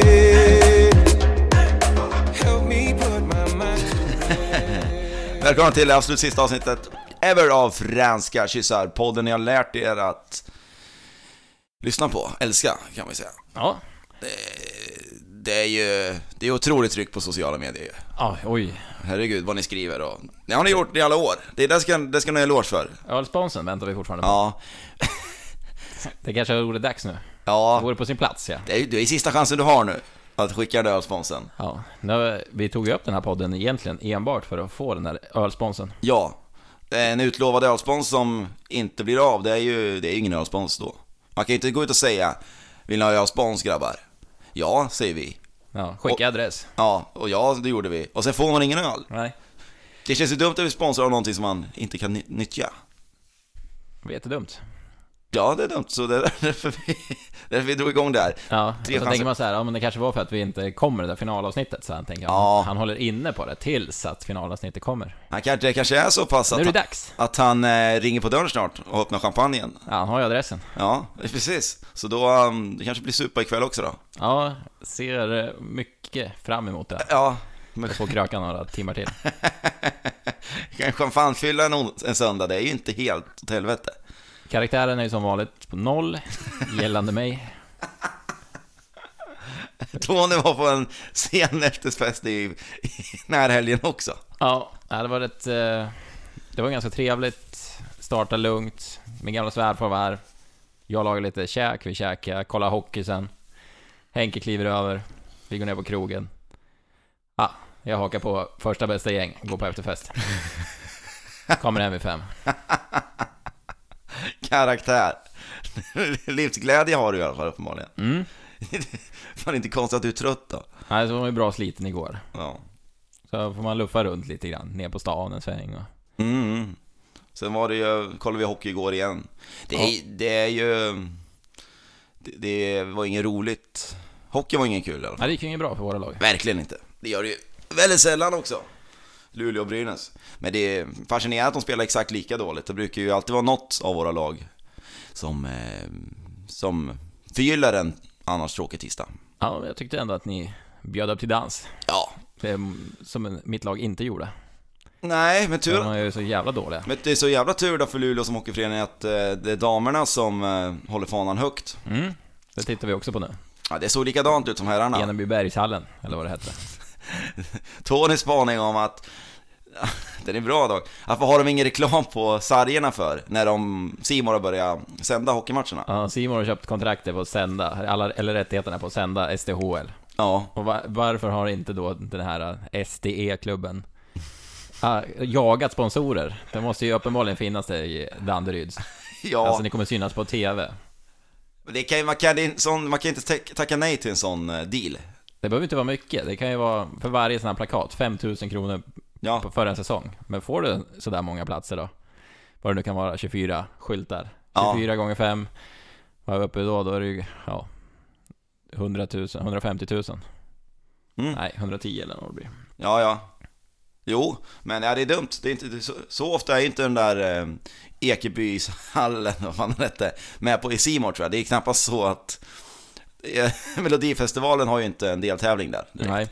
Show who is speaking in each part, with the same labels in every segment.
Speaker 1: Välkomna till det absolut sista avsnittet ever av Franska kyssar. Podden jag har lärt er att lyssna på, älska kan man ju säga.
Speaker 2: Ja.
Speaker 1: Det är ju det är otroligt tryck på sociala medier ju.
Speaker 2: Ah, oj.
Speaker 1: Herregud vad ni skriver och... Det har ni gjort i alla år. Det, där ska, det ska ni ha eloge för.
Speaker 2: Ölsponsen väntar vi fortfarande på.
Speaker 1: Ja.
Speaker 2: Det kanske vore dags nu. Det
Speaker 1: Ja.
Speaker 2: vore på sin plats, ja.
Speaker 1: Det är, det är sista chansen du har nu. Att skicka den ölsponsen.
Speaker 2: ja. Nu, vi tog ju upp den här podden egentligen enbart för att få den här ölsponsen.
Speaker 1: Ja. En utlovad ölspons som inte blir av, det är ju det är ju ingen ölspons då. Man kan ju inte gå ut och säga Vill ni ha ölspons grabbar? Ja, säger vi.
Speaker 2: Ja, skicka adress.
Speaker 1: Ja, och ja, det gjorde vi. Och sen får man ingen öl.
Speaker 2: Nej.
Speaker 1: Det känns ju dumt att bli sponsrad av någonting som man inte kan ny- nyttja.
Speaker 2: Det var jättedumt.
Speaker 1: Ja, det är dumt, så det är därför vi, därför vi drog igång där.
Speaker 2: Ja, och
Speaker 1: Tre
Speaker 2: så
Speaker 1: chanser.
Speaker 2: tänker man så här, ja men det kanske var för att vi inte kommer i det där finalavsnittet, så han tänker jag.
Speaker 1: Ja.
Speaker 2: Han håller inne på det tills att finalavsnittet kommer.
Speaker 1: Han kanske, det kanske är så pass
Speaker 2: Nu är
Speaker 1: att,
Speaker 2: det
Speaker 1: han,
Speaker 2: dags.
Speaker 1: att han eh, ringer på dörren snart och öppnar champagnen.
Speaker 2: Ja, han har ju adressen.
Speaker 1: Ja, precis. Så då, um, det kanske blir supa ikväll också då.
Speaker 2: Ja, ser eh, mycket fram emot det.
Speaker 1: Ja, men
Speaker 2: Får kröka några timmar till.
Speaker 1: en champagnefylla en, ons- en söndag, det är ju inte helt åt helvete.
Speaker 2: Karaktären är ju som vanligt på noll, gällande mig.
Speaker 1: Tony var på en sen efterfest i, i närhelgen också.
Speaker 2: Ja, det var ett... eh, Det var ganska trevligt. Starta lugnt. Min gamla svärfar var här. Jag lagade lite käk, vi käkade, kollade hockey sen. Henke kliver över. Vi går ner på krogen. Ja, jag hakar på första bästa gäng, går på efterfest. Kommer hem vid fem.
Speaker 1: Karaktär. Livsglädje har du i alla fall uppenbarligen.
Speaker 2: Mm.
Speaker 1: Fan, det är inte konstigt att du är trött då.
Speaker 2: Nej, så var man ju bra sliten igår.
Speaker 1: Ja.
Speaker 2: Så får man luffa runt lite grann, ner på stan en sväng och...
Speaker 1: Mm. mm. Sen var det ju, kollade vi hockey igår igen. Det, är- det är ju... Det, det var inget roligt. Hockey var ingen kul i alla fall.
Speaker 2: Nej, det gick ju inget bra för våra lag.
Speaker 1: Verkligen inte. Det gör det ju väldigt sällan också. Luleå och Brynäs. Men det är fascinerande att de spelar exakt lika dåligt. Det brukar ju alltid vara något av våra lag som, eh, som förgyller en annars tråkig tisdag.
Speaker 2: Ja, men jag tyckte ändå att ni bjöd upp till dans.
Speaker 1: Ja.
Speaker 2: Det är Ehm, som en- mitt lag inte gjorde.
Speaker 1: Nej, men tur
Speaker 2: De är ju så jävla dåliga.
Speaker 1: Men det är så jävla tur då för Luleå som hockeyförening att eh, det är damerna som eh, håller fanan högt.
Speaker 2: Mm. Det tittar vi också på nu.
Speaker 1: Ja, det såg likadant ut som herrarna.
Speaker 2: Enebybergshallen, eller vad det hette.
Speaker 1: Tonys spaning om att, den är bra dock, att vad har de ingen reklam på sargerna för när de, C More har börjat sända hockeymatcherna?
Speaker 2: Ja, Simon har köpt kontraktet på att sända, alla, eller rättigheterna på att sända SDHL.
Speaker 1: Ja,
Speaker 2: Och va- varför har inte då den här eh, SDE-klubben ah, jagat sponsorer? Det måste ju uppenbarligen finnas det i Danderyds.
Speaker 1: ja.
Speaker 2: Alltså, ni kommer synas på TV.
Speaker 1: det kan, ju- man, kan, det är en sån, man kan inte tack- tacka nej till en sån eh, deal.
Speaker 2: Det behöver inte vara mycket, det kan ju vara för varje sån här plakat, 5000 kronor
Speaker 1: Ja,
Speaker 2: på- för en säsong. Men får du sådär många platser då? Vad det nu kan vara, 24 skyltar.
Speaker 1: Ja.
Speaker 2: 24 gånger 5. Vad är vi uppe i då? Då är det ju, ja, 100 000, 150 000.
Speaker 1: Mm.
Speaker 2: Nej, 110 eller vad det blir.
Speaker 1: ja, ja. Jo, men ja, det är dumt. Det är inte, det är så, så ofta är ju inte den där eh, Ekebyshallen, vad fan den hette, med på i C More tror jag. Det är knappast så att eh, Melodifestivalen har ju inte en deltävling där.
Speaker 2: Nej.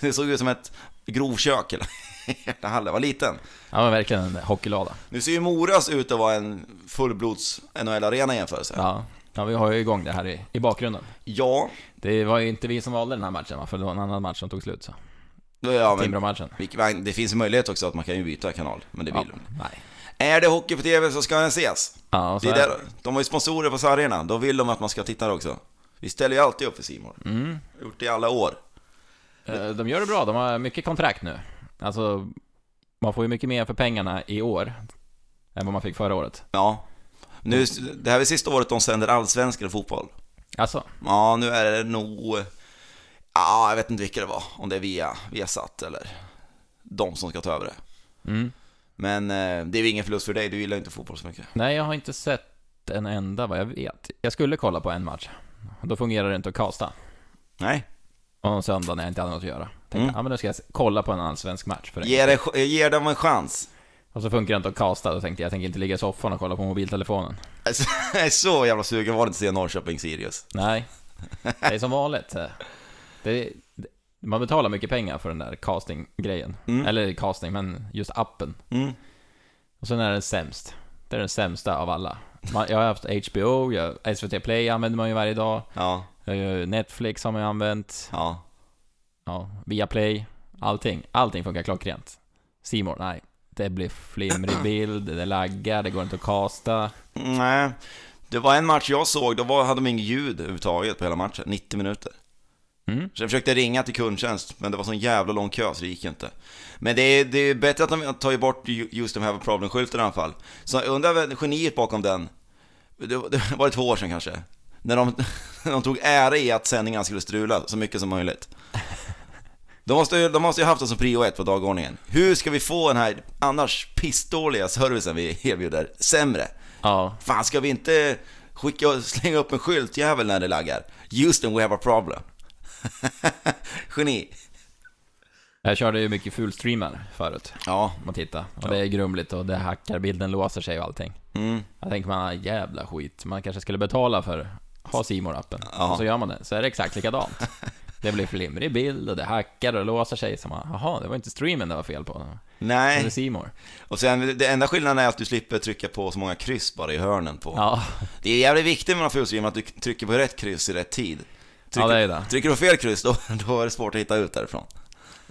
Speaker 1: Det såg ut som ett grovkök hela, hela hallen, var liten.
Speaker 2: Ja, men verkligen en hockeylada.
Speaker 1: Nu ser ju Moras ut att vara en fullblods NHL-arena i jämförelse. Ja.
Speaker 2: Ja. ja, vi har ju igång det här i, i bakgrunden.
Speaker 1: ja,
Speaker 2: Det var ju inte vi som valde den här matchen va? för det var en annan match som tog slut så.
Speaker 1: då- ja men,
Speaker 2: Timrå-matchen.
Speaker 1: vilken- det finns ju möjlighet också att man kan ju byta kanal, men det vill
Speaker 2: Ja,
Speaker 1: de inte.
Speaker 2: nej.
Speaker 1: Är det hockey på TV så ska den ses.
Speaker 2: Ja, och så
Speaker 1: Det är
Speaker 2: är-
Speaker 1: där, de har ju sponsorer på sargerna, då vill de att man ska titta där också. Vi ställer ju alltid upp för Simon.
Speaker 2: Mm.
Speaker 1: Gjort det i alla år.
Speaker 2: Eh, De gör det bra, de har mycket kontrakt nu. Alltså, man får ju mycket mer för pengarna i år än vad man fick förra året.
Speaker 1: Ja. Nu, det här är sista året de sänder allsvensk fotboll.
Speaker 2: Alltså,
Speaker 1: Ja, nu är det nog... Ja, jag vet inte vilka det var. Om det är via, Viasat eller de som ska ta över det.
Speaker 2: mm.
Speaker 1: Men eh, det är ju ingen förlust för dig, du gillar ju inte fotboll så mycket.
Speaker 2: nej jag har inte sett en enda vad jag vet. Jag skulle kolla på en match, då fungerar det inte att kasta.
Speaker 1: Nej.
Speaker 2: Och en söndag när jag inte hade något att göra. Tänkte,
Speaker 1: Mm.
Speaker 2: ja men nu ska jag kolla på en allsvensk match för en
Speaker 1: Ge, det, ge dem en chans.
Speaker 2: Och så funkar det inte att kasta, då tänkte jag, jag tänker inte ligga i soffan och kolla på mobiltelefonen.
Speaker 1: Alltså, jag är så jävla sugen var det inte att se Norrköping-Sirius.
Speaker 2: Nej, det är som vanligt. Det, Man betalar mycket pengar för den där casting-grejen.
Speaker 1: Mm.
Speaker 2: Eller casting, men just appen.
Speaker 1: Mm.
Speaker 2: Och sen är den sämst. Det är den sämsta av alla. Man, jag har haft HBO, jag, SVT Play använder man ju varje dag.
Speaker 1: Ja,
Speaker 2: Jag har ju Netflix har man ju använt.
Speaker 1: ja.
Speaker 2: Ja, Viaplay. Allting. Allting funkar klockrent. C More, nej. Det blir flimrig bild, det laggar, det går inte att casta.
Speaker 1: Nej, det var en match jag såg, då var, hade de inget ljud överhuvudtaget på hela matchen, 90 minuter.
Speaker 2: Mm.
Speaker 1: Så jag försökte ringa till kundtjänst, men det var sån jävla lång kö så det gick ju inte. Men det är, det är bättre att de tar ju bort ju- just de här problem-skylten i alla fall. Så jag undrar väl geniet bakom den, det var- det var två år sedan kanske, när de, de tog ära i att sändningarna skulle strula så mycket som möjligt. De måste, ju- de måste ju haft det som prio ett på dagordningen. Hur ska vi få den här annars pissdåliga servicen vi erbjuder sämre?
Speaker 2: Ja,
Speaker 1: Fan, ska vi inte skicka och slänga upp en skylt jävel när det laggar? Houston, we have a problem. Geni.
Speaker 2: jag körde ju mycket fullstreamar förut.
Speaker 1: Ja,
Speaker 2: Om man tittar. Och det är grumligt och det hackar, bilden låser sig och allting.
Speaker 1: mm,
Speaker 2: Jag tänker man, jävla skit. Man kanske skulle betala för att ha simor appen
Speaker 1: Ja.
Speaker 2: Och så gör man det, så är det exakt likadant. det blir flimrig bild och det hackar och låser sig. Så man, jaha, det var inte streamen det var fel på. Det är
Speaker 1: nej.
Speaker 2: simor.
Speaker 1: Och sen, det enda skillnaden är att du slipper trycka på så många kryss bara i hörnen på.
Speaker 2: Ja,
Speaker 1: Det är jävligt viktigt med de fullstream att du trycker på rätt kryss i rätt tid. Trycker,
Speaker 2: Ja, det är det.
Speaker 1: trycker du på fel kryss, då, då är det svårt att hitta ut därifrån.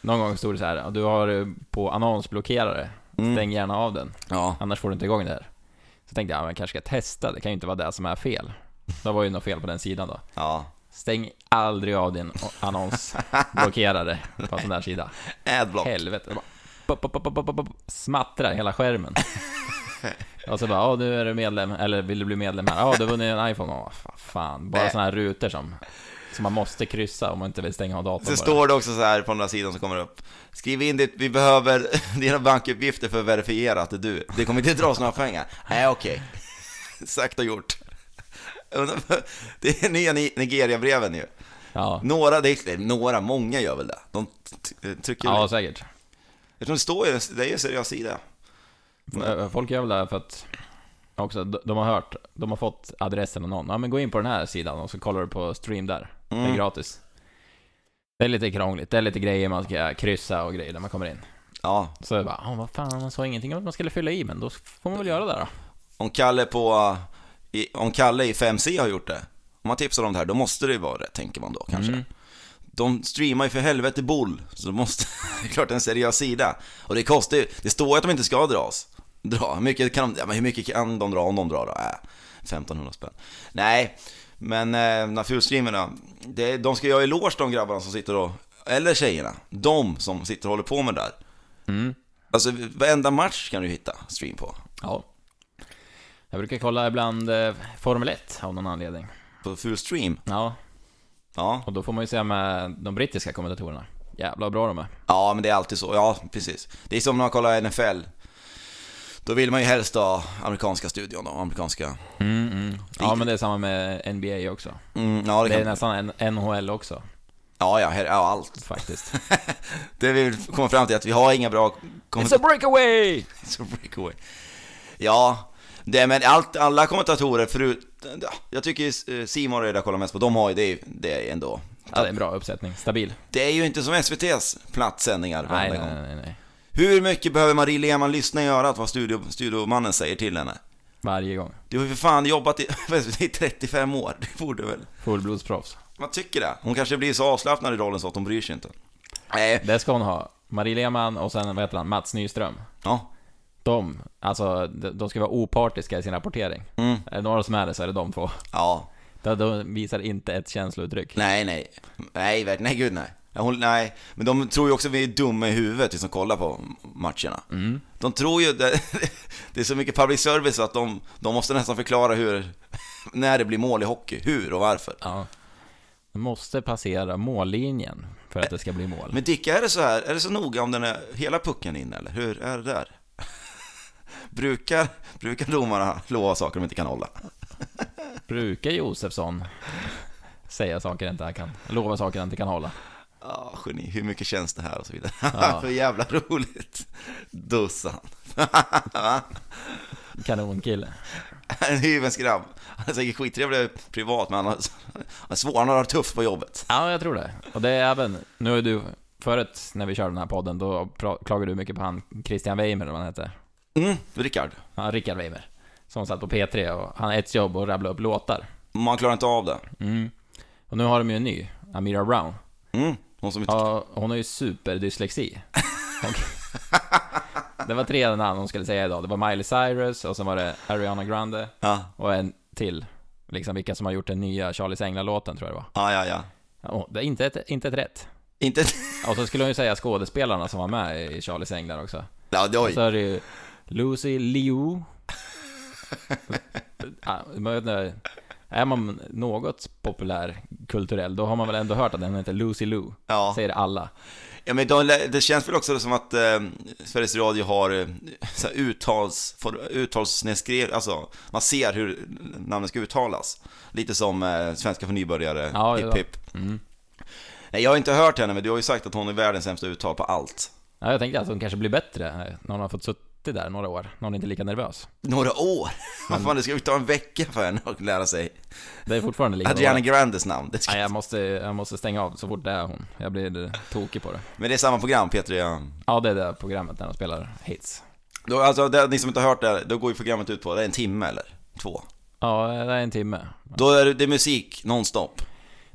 Speaker 2: någon gång stod det så här, "Ja, du har eh, på annonsblockerare,
Speaker 1: Mm.
Speaker 2: stäng gärna av den.
Speaker 1: Ja,
Speaker 2: Annars får du inte igång det här. Så tänkte jag, "Ja, men jag kanske ska testa, det kan ju inte vara det som är fel. Det var ju något fel på den sidan då.
Speaker 1: ja.
Speaker 2: Stäng aldrig av din annonsblockerare på en sån där sida.
Speaker 1: Adblock.
Speaker 2: Helvete. Det bara pop, pop, pop, pop, pop, pop, smattrar hela skärmen. Och så bara, ja nu är du medlem, eller vill du bli medlem här? Ja, du har vunnit en iPhone. Åh, fa- fan. Bara
Speaker 1: Nej.
Speaker 2: såna här rutor som, som man måste kryssa om man inte vill stänga av datorn
Speaker 1: Så
Speaker 2: bara.
Speaker 1: står det också så här på den där sidan som kommer upp. Skriv in ditt, vi behöver dina bankuppgifter för att verifiera att det är du. Det kommer inte dras några pengar. Nej, okej. Sagt och gjort. Undrar- Det är nya Ni- Nigeria-breven ju.
Speaker 2: Ja,
Speaker 1: Några, det är, några, många gör väl det. De t- t- trycker
Speaker 2: ja
Speaker 1: ja.
Speaker 2: säkert.
Speaker 1: Eftersom det står ju, det är ju en seriös sida.
Speaker 2: F- Folk gör väl det här för att också, de de har hört, de har fått adressen av någon. Ja men gå in på den här sidan och så kollar du på stream där. Det är gratis. Det är lite krångligt, det är lite grejer man ska kryssa och grejer när man kommer in.
Speaker 1: Ja,
Speaker 2: Så jag bara, "Ja, vad fan, man sa ingenting om att man skulle fylla i, men då får man väl göra det då.
Speaker 1: om Kalle på, i- om Kalle i 5C har gjort det. Om man tipsar om det här, då måste det ju vara rätt, tänker man då kanske.
Speaker 2: Mm.
Speaker 1: De streamar ju för helvete boll, så de måste, det är klart en seriös sida. Och det kostar ju, det står ju att de inte ska dras. Dra, hur mycket kan de, ja, men hur mycket kan de dra om de drar då? Äh, 1500 spänn. Nej, men eh, naturstreamerna, det, de ska ju ha eloge de grabbarna som sitter och, eller tjejerna, de som sitter och håller på med det där.
Speaker 2: Mm.
Speaker 1: Alltså varenda match kan du hitta stream på.
Speaker 2: Ja. Jag brukar kolla ibland eh, Formel 1 av någon anledning.
Speaker 1: På full stream.
Speaker 2: Ja,
Speaker 1: Ja.
Speaker 2: och då får man ju se med de brittiska kommentatorerna. Jävlar vad bra de är.
Speaker 1: ja, men det är alltid så. Ja, precis. Det är som när man kollar NFL. Då vill man ju helst ha amerikanska studion då, amerikanska
Speaker 2: Mm, mm. Ja, men det är samma med NBA också.
Speaker 1: Mm, ja, det
Speaker 2: Det är
Speaker 1: kan...
Speaker 2: nästan en NHL också,
Speaker 1: ja, ja, här, ja, allt.
Speaker 2: faktiskt.
Speaker 1: Det vi vill komma fram till är att vi har inga bra
Speaker 2: It's a
Speaker 1: kommentatorer.
Speaker 2: breakaway!
Speaker 1: breakaway. Ja, det, men allt, alla kommentatorer förut... ja, Jag tycker eh, Simon och jag kollar mest på, de har ju det, är ju- det är ändå.
Speaker 2: Ja, det är en bra uppsättning. Stabil.
Speaker 1: Det är ju inte som SVT's plattsändningar
Speaker 2: Nej,
Speaker 1: varenda
Speaker 2: nej,
Speaker 1: gång.
Speaker 2: nej, nej.
Speaker 1: Hur mycket behöver Marie Lehmann lyssna i örat vad studio, studiomannen säger till henne?
Speaker 2: Varje gång.
Speaker 1: Du har ju för fan jobbat i, i 35 år, det borde väl...
Speaker 2: Fullblodsproffs.
Speaker 1: Man tycker det. Hon kanske blir så avslappnad i rollen så att hon bryr sig inte. Nej,
Speaker 2: Det ska hon ha. Marie Lehmann och sen, vad heter han, Mats Nyström.
Speaker 1: ja.
Speaker 2: De, alltså, de de ska vara opartiska i sin rapportering.
Speaker 1: Mm.
Speaker 2: Är det några som är det så är det de två.
Speaker 1: Ja,
Speaker 2: De, de visar inte ett känslouttryck.
Speaker 1: Nej, nej. Nej, verkligen. Nej, gud nej. Ja, Hon, nej, men de tror ju också att vi är dumma i huvudet, vi som kollar på matcherna. De tror ju, det, det är så mycket public service att de, de måste nästan förklara hur, när det blir mål i hockey, hur och varför.
Speaker 2: Ja. De måste passera mållinjen för att det ska bli mål.
Speaker 1: Men Dicka, är det så här, är det så noga om den är hela pucken in eller? Hur är det där? Brukar, brukar domarna lova saker de inte kan hålla?
Speaker 2: Brukar Josefsson säga saker inte han kan, lova saker han inte kan hålla?
Speaker 1: Ja, geni, hur mycket känns det här och så vidare.
Speaker 2: Ja.
Speaker 1: För jävla roligt. Dussan.
Speaker 2: Kanonkille.
Speaker 1: En hyvens grabb. Han är säkert skittrevlig privat, men han har han är svår, han har det tufft på jobbet.
Speaker 2: Ja, jag tror det. Och det är även, nu är du, förut när vi körde den här podden, då pra- klagade du mycket på han Christian Weimer, eller vad han hette.
Speaker 1: Mm, Rickard.
Speaker 2: Han Rickard Weimer. Som satt på P3 och han har ett jobb och rabbla upp låtar.
Speaker 1: Man klarar inte av det.
Speaker 2: Mm. Och nu har de ju en ny, Amira Brown.
Speaker 1: Mm, någon som inte...
Speaker 2: Ja, hon har ju superdyslexi. Hon- det var tre namn hon skulle säga idag. Det var Miley Cyrus, och sen var det Ariana Grande,
Speaker 1: Ja,
Speaker 2: och en till. Liksom vilka som har gjort den nya Charlies Änglar-låten, tror jag det var.
Speaker 1: ja, ja. ja.
Speaker 2: Ja, hon- det är inte ett, inte ett rätt.
Speaker 1: Inte...
Speaker 2: Och så skulle hon ju säga skådespelarna som var med i Charlies Änglar också.
Speaker 1: Ja, det-
Speaker 2: Och så
Speaker 1: oj.
Speaker 2: är det ju Lucy Liu. Ja, man vet inte, är man något populär kulturell, då har man väl ändå hört att den heter Lucy Liu.
Speaker 1: Ja.
Speaker 2: Säger alla.
Speaker 1: Ja, men de, det känns väl också som att eh, Sveriges Radio har eh, så här uttals, för- uttalsnedskrev, alltså man ser hur namnen ska uttalas. Lite som eh, svenska för nybörjare,
Speaker 2: Ja,
Speaker 1: hipp
Speaker 2: ja.
Speaker 1: hipp.
Speaker 2: Mm.
Speaker 1: Nej, jag har inte hört henne, men du har ju sagt att hon är världens sämsta uttal på allt.
Speaker 2: Ja, jag tänkte att hon kanske blir bättre när hon har fått suttit där några år. När hon inte är lika nervös.
Speaker 1: Några år! Vad fan, det ska ju ta en vecka för henne att lära sig
Speaker 2: Det är fortfarande lika
Speaker 1: Adriana
Speaker 2: dåligt.
Speaker 1: Grandes namn. Det ska...
Speaker 2: Nej, jag måste, jag måste stänga av så fort det är hon. Jag blir tokig på det.
Speaker 1: Men det är samma program, Peter. Jag...
Speaker 2: Ja, det är det här programmet när de spelar hits.
Speaker 1: Då, alltså, det, ni som inte har hört det, här, då går ju programmet ut på, det är en timme eller? Två.
Speaker 2: Ja, det är en timme.
Speaker 1: Då är det, det är musik nonstop.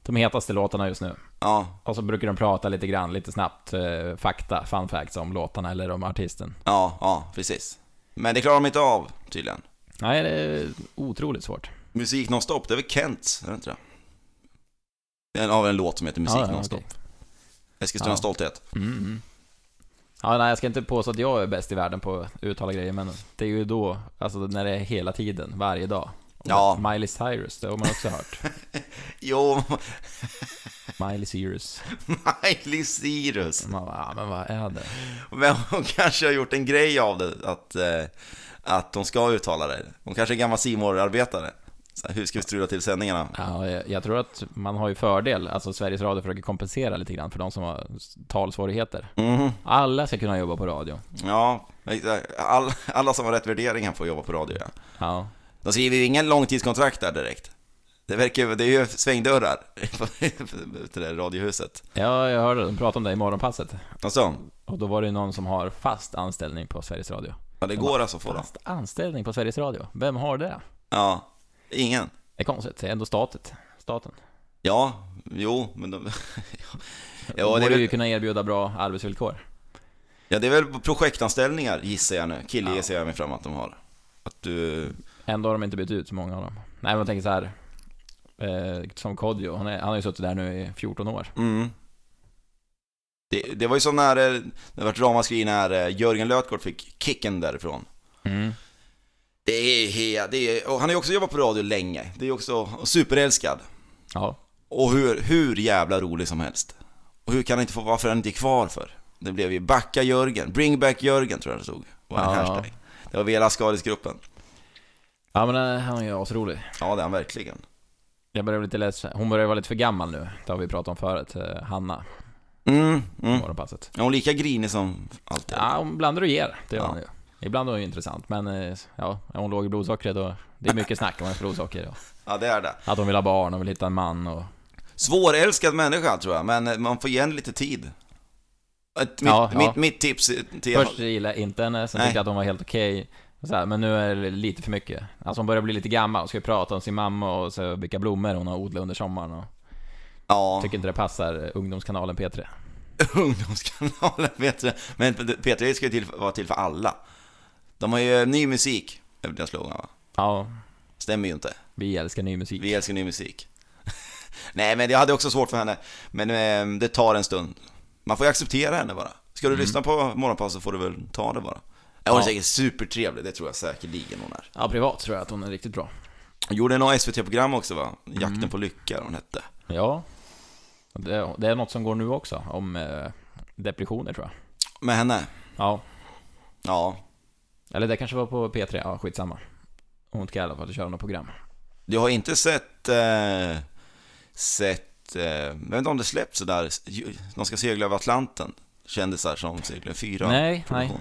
Speaker 2: De hetaste låtarna just nu.
Speaker 1: Ja,
Speaker 2: Och så brukar de prata lite grann, lite snabbt, eh, fakta, fun facts om låtarna eller om artisten.
Speaker 1: ja, ja, precis. Men det klarar de inte av, tydligen.
Speaker 2: Nej, det är otroligt svårt.
Speaker 1: Musik nonstop, det är väl Kent, är det inte det? En, av en låt som heter Musik
Speaker 2: Ja, ja,
Speaker 1: nonstop.
Speaker 2: okej.
Speaker 1: Eskilstuna
Speaker 2: Ja.
Speaker 1: Stolthet.
Speaker 2: Mm, mm. Ja, nej, jag ska inte påstå att jag är bäst i världen på att uttala grejer, men det är ju då, alltså när det är hela tiden, varje dag. Och
Speaker 1: Ja.
Speaker 2: Miley Cyrus, det har man också hört.
Speaker 1: Jo,
Speaker 2: Miley Cyrus.
Speaker 1: Miley Cyrus.
Speaker 2: Man bara, ja, men vad är det?
Speaker 1: Men hon kanske har gjort en grej av det, att, eh, att hon ska uttala det. Hon kanske är gammal simor arbetare Hur ska vi strula till sändningarna?
Speaker 2: Ja, jag, jag tror att man har ju fördel, alltså Sveriges Radio försöker kompensera lite grann för de som har s- talsvårigheter.
Speaker 1: Mhm.
Speaker 2: Alla ska kunna jobba på radio.
Speaker 1: Ja, exakt. all, alla som har rätt värderingar får jobba på radio. Ja.
Speaker 2: Ja.
Speaker 1: De skriver ju ingen långtidskontrakt där direkt. Det, verkar, ju- det är ju svängdörrar på det där radiohuset.
Speaker 2: Ja, jag hörde de pratade om det i morgonpasset.
Speaker 1: Alltså,
Speaker 2: Och då var det ju någon som har fast anställning på Sveriges Radio.
Speaker 1: ja, det går alltså att få dem.
Speaker 2: Fast anställning på Sveriges Radio? Vem har det?
Speaker 1: Ja, ingen.
Speaker 2: Det är konstigt, det är ändå statet. Staten.
Speaker 1: Ja, jo, men de,
Speaker 2: Ja, de
Speaker 1: Ja, det är
Speaker 2: borde
Speaker 1: väl-
Speaker 2: ju kunna erbjuda bra arbetsvillkor.
Speaker 1: ja, det är väl projektanställningar gissar jag nu. Killgissar jag mig fram att de har. Att du...
Speaker 2: Ändå har de inte bytt ut så många av dem. Nej, men jag tänker så här. Eh, som Kodjo, han, är, han har ju suttit där nu i 14 år.
Speaker 1: Mm. Det, det var ju som när eh, det var ramaskri när eh, Jörgen Lötgård fick kicken därifrån. Mm. Det är, he- det är, och han har ju också jobbat på radio länge. Det är ju också superälskad.
Speaker 2: Ja.
Speaker 1: Och hur, hur jävla rolig som helst. Och hur kan han inte få, varför är han inte kvar för? Det blev ju Backa Jörgen, Bring Back Jörgen tror jag det stod. Var en
Speaker 2: Ja.
Speaker 1: hashtag. Det var Vela Skaris-gruppen.
Speaker 2: Ja, men eh, han är ju asrolig.
Speaker 1: Ja, det är han verkligen.
Speaker 2: Jag börjar bli lite ledsen. Hon börjar vara lite för gammal nu. Det har vi pratat om förut. eh, Hanna,
Speaker 1: Mm,
Speaker 2: i
Speaker 1: mm.
Speaker 2: morgonpasset.
Speaker 1: Är hon lika grinig som alltid?
Speaker 2: Ja, hon blandar och ger. Det gör
Speaker 1: Ja.
Speaker 2: hon ju. Ibland är hon ju intressant, men eh, ja, är hon låg i blodsockret och det är mycket snack om hennes blodsocker. ja.
Speaker 1: Ja, det är det.
Speaker 2: Att hon vill ha barn, hon vill hitta en man och...
Speaker 1: Svårälskad människa tror jag, men eh, man får igen lite tid. Ett, mitt,
Speaker 2: Ja, ja.
Speaker 1: Mitt, mitt tips till...
Speaker 2: Först gillade jag inte henne, sen
Speaker 1: Nej.
Speaker 2: tyckte jag att hon var helt okej. Och så här, Men nu är det lite för mycket. Alltså hon börjar bli lite gammal, hon ska ju prata om sin mamma och så vilka blommor hon har odlat under sommaren och...
Speaker 1: Ja.
Speaker 2: Tycker inte det passar eh, ungdomskanalen P3.
Speaker 1: Ungdomskanalen P3. Men P3 ska ju till, vara till för alla. De har ju ny musik, är väl deras slogan va?
Speaker 2: Ja,
Speaker 1: Stämmer ju inte.
Speaker 2: vi älskar ny musik.
Speaker 1: Vi älskar ny musik. Nej, men jag hade också svårt för henne. Men eh, det tar en stund. Man får ju acceptera henne bara. Ska du lyssna på Morgonpass så får du väl ta det bara. Mm. Ja, Hon är
Speaker 2: Ja.
Speaker 1: säkert supertrevlig, det tror jag säkerligen hon är.
Speaker 2: Ja, privat tror jag att hon är riktigt bra.
Speaker 1: Hon gjorde några SVT-program också va? Jakten på lycka hon hette.
Speaker 2: Ja. Det, det är något som går nu också, om eh, depressioner tror jag.
Speaker 1: Med henne?
Speaker 2: Ja,
Speaker 1: Ja.
Speaker 2: Eller det kanske var på P3, ja skitsamma. Hon ska i alla fall köra något program.
Speaker 1: Du har inte sett... Eh, sett... Eh, jag vet inte om det släpps sådär. De ska segla över Atlanten. Kändisar som seglar fyra.
Speaker 2: nej, nej.
Speaker 1: produktion.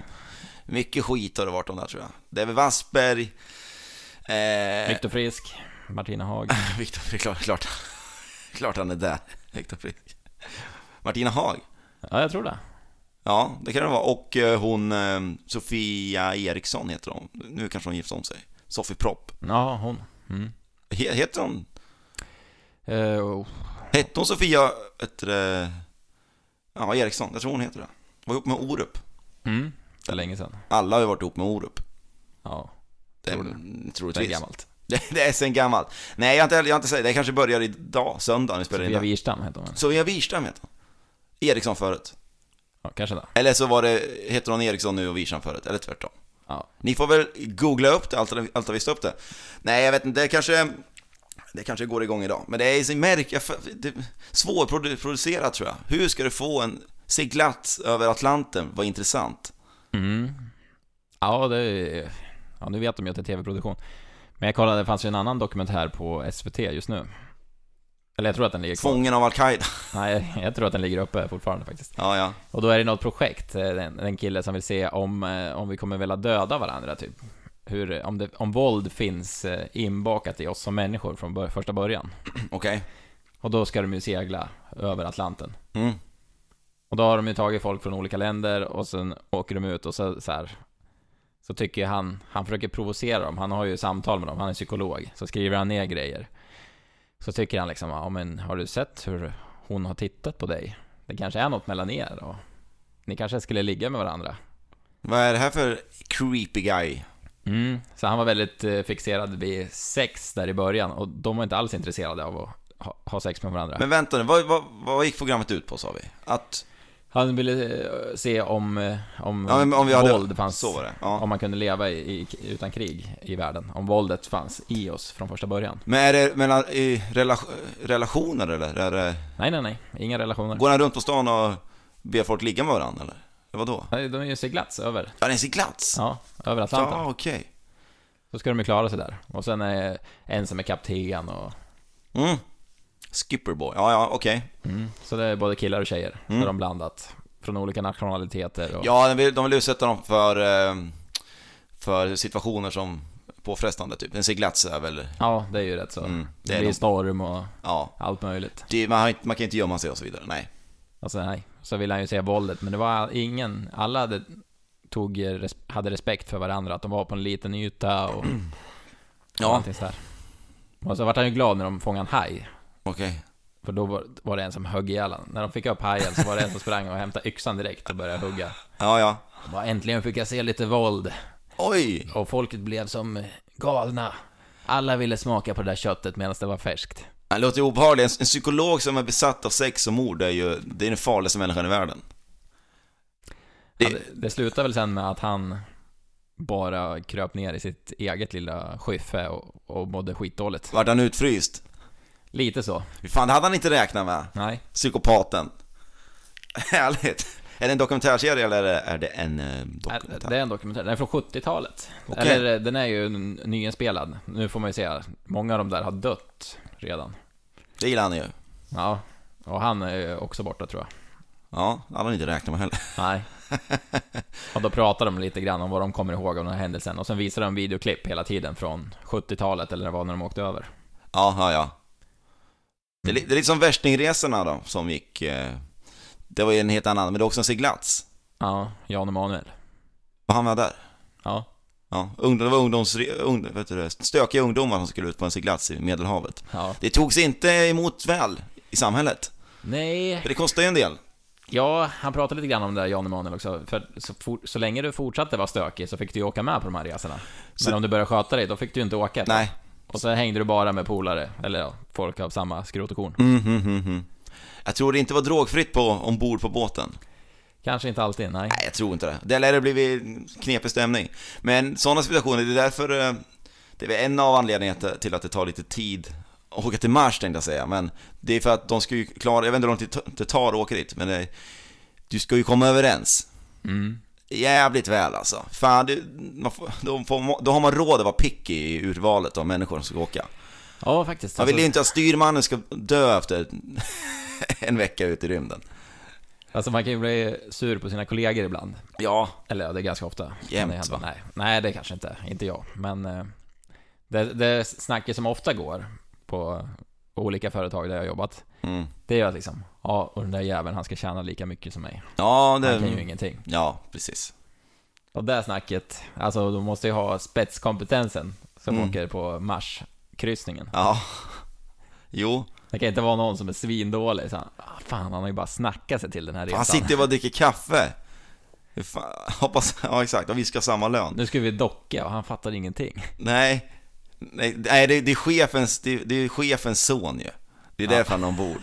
Speaker 1: Mycket skit har det varit om det här tror jag. Det är väl Wassberg... Eh,
Speaker 2: Viktor Frisk, Martina Haag.
Speaker 1: Viktor Frisk, klart, klart, klart han är där. Viktor Frisk. Martina Haag.
Speaker 2: Ja, jag tror det.
Speaker 1: Ja, det kan det vara. Och eh, hon eh, Sofia Eriksson heter hon. Nu kanske hon gift om sig. Sofie Propp.
Speaker 2: Ja, hon. Mm.
Speaker 1: He- heter hon?
Speaker 2: Eh, oh.
Speaker 1: Hette hon Sofia... Ett, eh, ja, Eriksson. Jag tror hon heter det. Var ihop med Orup.
Speaker 2: mm. Det är länge sedan.
Speaker 1: Alla har ju varit ihop med Orup.
Speaker 2: Ja,
Speaker 1: Det,
Speaker 2: Tror det är
Speaker 1: troligtvis.
Speaker 2: gammalt.
Speaker 1: Det, det är sen gammalt. Nej, jag har inte, jag har inte sagt det. Det kanske börjar idag, söndag, när vi spelar in
Speaker 2: Sofia
Speaker 1: det.
Speaker 2: Wirstam heter hon.
Speaker 1: Sofia Wirstam heter hon. Eriksson förut.
Speaker 2: Ja, kanske det.
Speaker 1: Eller så var det, heter hon Eriksson nu och Wirstam förut, eller tvärtom.
Speaker 2: Ja.
Speaker 1: Ni får väl googla upp det, allt, allt har visst upp det. Nej, jag vet inte, det kanske, det kanske går igång idag. Men det är så märk, jag, det är svårproducerat tror jag. Hur ska du få en seglat över Atlanten Vad intressant?
Speaker 2: Mm. Ja, det är... Ja, nu vet de ju att det är tv-produktion. Men jag kollade, det fanns ju en annan dokumentär på SVT just nu. Eller jag tror att den ligger kvar.
Speaker 1: Fången av Al-Qaida.
Speaker 2: Nej, jag tror att den ligger uppe fortfarande faktiskt.
Speaker 1: Ja, ja.
Speaker 2: Och då är det något projekt, eh, den, den kille som vill se om, eh, om vi kommer vilja döda varandra typ. Hur, eh, om, det, om våld finns eh, inbakat i oss som människor från bör, första början.
Speaker 1: Okej.
Speaker 2: Och då ska de ju segla över Atlanten.
Speaker 1: Mm.
Speaker 2: Och då har de ju tagit folk från olika länder och sen åker de ut och så, så här. Så tycker ju han, han försöker provocera dem, han har ju samtal med dem, han är psykolog. Så skriver han ner grejer. Så tycker han liksom, ja men har du sett hur hon har tittat på dig? Det kanske är något mellan er och ni kanske skulle ligga med varandra.
Speaker 1: Vad är det här för creepy guy?
Speaker 2: Mm. Så han var väldigt eh, fixerad vid sex där i början och de var inte alls intresserade av att ha, ha sex med varandra.
Speaker 1: Men vänta nu, vad, vad, vad gick programmet ut på sa vi? Att,
Speaker 2: Han ville eh, se om, eh, om,
Speaker 1: ja, men om vi hade...
Speaker 2: våld fanns.
Speaker 1: Så var det. Ja.
Speaker 2: Om man kunde leva i, i, utan krig i världen. Om våldet fanns i oss från första början.
Speaker 1: Men är det mellan, i relation, relationer eller? Är det,
Speaker 2: Nej, nej, nej. Inga relationer.
Speaker 1: går han runt på stan och ber folk ligga med varandra eller? Eller vadå?
Speaker 2: Nej, de är ju seglats över.
Speaker 1: Ja, det är en seglats?
Speaker 2: Ja, över Atlanten.
Speaker 1: Ja, okej.
Speaker 2: Så ska de ju klara sig där. Och sen är en som är kapten och...
Speaker 1: Mm. Skipperboy, ja, ja, okej.
Speaker 2: Mm. Så det är både killar och tjejer. Så har de blandat. Från olika nationaliteter och...
Speaker 1: Mm. Ja, de vill, de vill utsätta dem för, eh, för situationer som påfrestande typ. En seglats är väl,
Speaker 2: Ja, det är ju rätt så.
Speaker 1: Mm, det
Speaker 2: det,
Speaker 1: är
Speaker 2: blir
Speaker 1: nog-
Speaker 2: storm och
Speaker 1: ja.
Speaker 2: allt möjligt.
Speaker 1: Det, man, har inte, man kan inte gömma sig och så vidare, nej.
Speaker 2: Alltså, nej. Så ville han ju se våldet, men det var ingen... Alla hade, tog, res- hade respekt för varandra, att de var på en liten yta och...
Speaker 1: Ja,
Speaker 2: Någonting sådär. Och så vart han ju glad när de fångade en haj.
Speaker 1: okej.
Speaker 2: För då var, var det en som högg ihjäl honom. När de fick upp hajen så var det en som sprang och hämtade yxan direkt och började hugga.
Speaker 1: Ja, ja.
Speaker 2: Och Bara, äntligen fick jag se lite våld.
Speaker 1: Oj!
Speaker 2: Och folket blev som galna. Alla ville smaka på det där köttet medan det var färskt.
Speaker 1: Han låter ju obehaglig. En, en psykolog som är besatt av sex och mord är ju det är den farligaste människan i världen. Det-
Speaker 2: Ja, Det, det slutade väl sen med att han bara kröp ner i sitt eget lilla skyffe och, och mådde skitdåligt.
Speaker 1: Vart han utfryst?
Speaker 2: Lite så.
Speaker 1: Fy Fan, det hade han inte räknat med.
Speaker 2: Nej.
Speaker 1: Psykopaten. Härligt. Är det en dokumentärserie eller är det- är det en eh, dokumentär?
Speaker 2: Det är en dokumentär. Den är från 70-talet.
Speaker 1: Okej.
Speaker 2: Eller eh, den är ju n- nyinspelad. Nu får man ju se, många av de där har dött redan.
Speaker 1: Det gillar han ju.
Speaker 2: Ja, och han är ju också borta tror jag.
Speaker 1: Ja, det hade han inte räknat med heller.
Speaker 2: Nej. och då pratar de lite grann om vad de kommer ihåg av den här händelsen. Och sen visar de videoklipp hela tiden från 70-talet eller vad när de åkte över.
Speaker 1: Ja, ja, ja. Det är, li- det är lite som värstingresorna då, som gick... eh, Det var ju en helt annan, men det är också en seglats.
Speaker 2: Ja, Jan Emanuel.
Speaker 1: Och han var där.
Speaker 2: Ja,
Speaker 1: Ja, ungdom, det var ungdoms, ung, vet du, det, stökiga ungdomar som skulle ut på en seglats i Medelhavet.
Speaker 2: ja.
Speaker 1: Det togs inte emot väl i samhället.
Speaker 2: Nej.
Speaker 1: För det kostar ju en del.
Speaker 2: Ja, han pratade lite grann om det där Jan Emanuel också. För så, for, så länge du fortsatte vara stökig så fick du ju åka med på de här resorna. Men
Speaker 1: Så-
Speaker 2: om du började sköta dig, då fick du ju inte åka.
Speaker 1: Nej.
Speaker 2: Och så hängde du bara med polare, eller ja, folk av samma skrot och korn.
Speaker 1: Mm, mm, mm, mm. Jag tror det inte var drogfritt på, ombord på båten.
Speaker 2: Kanske inte alltid, nej.
Speaker 1: Nej, jag tror inte det. Det lär det blivit knepig stämning. Men sådana situationer, det är därför... eh, Det är väl en av anledningarna till att det tar lite tid att åka till Mars tänkte jag säga. Men det är för att de ska ju klara... Jag vet inte hur lång tid det tar att åka dit, men det, du ska ju komma överens.
Speaker 2: Mm.
Speaker 1: Jävligt väl alltså. Fan, du, man får, då, får, då har man råd att vara picky i urvalet av människor som ska åka.
Speaker 2: Ja, faktiskt.
Speaker 1: Man vill ju
Speaker 2: Alltså,
Speaker 1: inte att styrmannen ska dö efter en vecka ute i rymden.
Speaker 2: Alltså man kan ju bli sur på sina kollegor ibland.
Speaker 1: Ja,
Speaker 2: Eller ja, det är ganska ofta.
Speaker 1: Jämt,
Speaker 2: Men det-
Speaker 1: va?
Speaker 2: nej, nej, det kanske inte. Inte jag. Men eh, det, det snacket som ofta går på, på olika företag där jag har jobbat.
Speaker 1: mm.
Speaker 2: Det är ju att liksom, ja, och den där jäveln han ska tjäna lika mycket som mig.
Speaker 1: ja
Speaker 2: Han kan ju
Speaker 1: det...
Speaker 2: ingenting.
Speaker 1: Ja, precis.
Speaker 2: Och det snacket, alltså de måste ju ha spetskompetensen som
Speaker 1: Mm.
Speaker 2: åker på Mars-kryssningen.
Speaker 1: Ja. Jo,
Speaker 2: Det kan inte vara någon som är svindålig. Så han, ah, fan, han har ju bara snackat sig till den här resan.
Speaker 1: han sitter ju bara och dricker kaffe. Hur fan- Hoppas... Ja, exakt. Och vi ska ha samma lön.
Speaker 2: Nu ska vi docka och han fattar ingenting.
Speaker 1: Nej, nej, nej det, det, är chefens, det, det är chefens son ju. Det är därför han är ombord.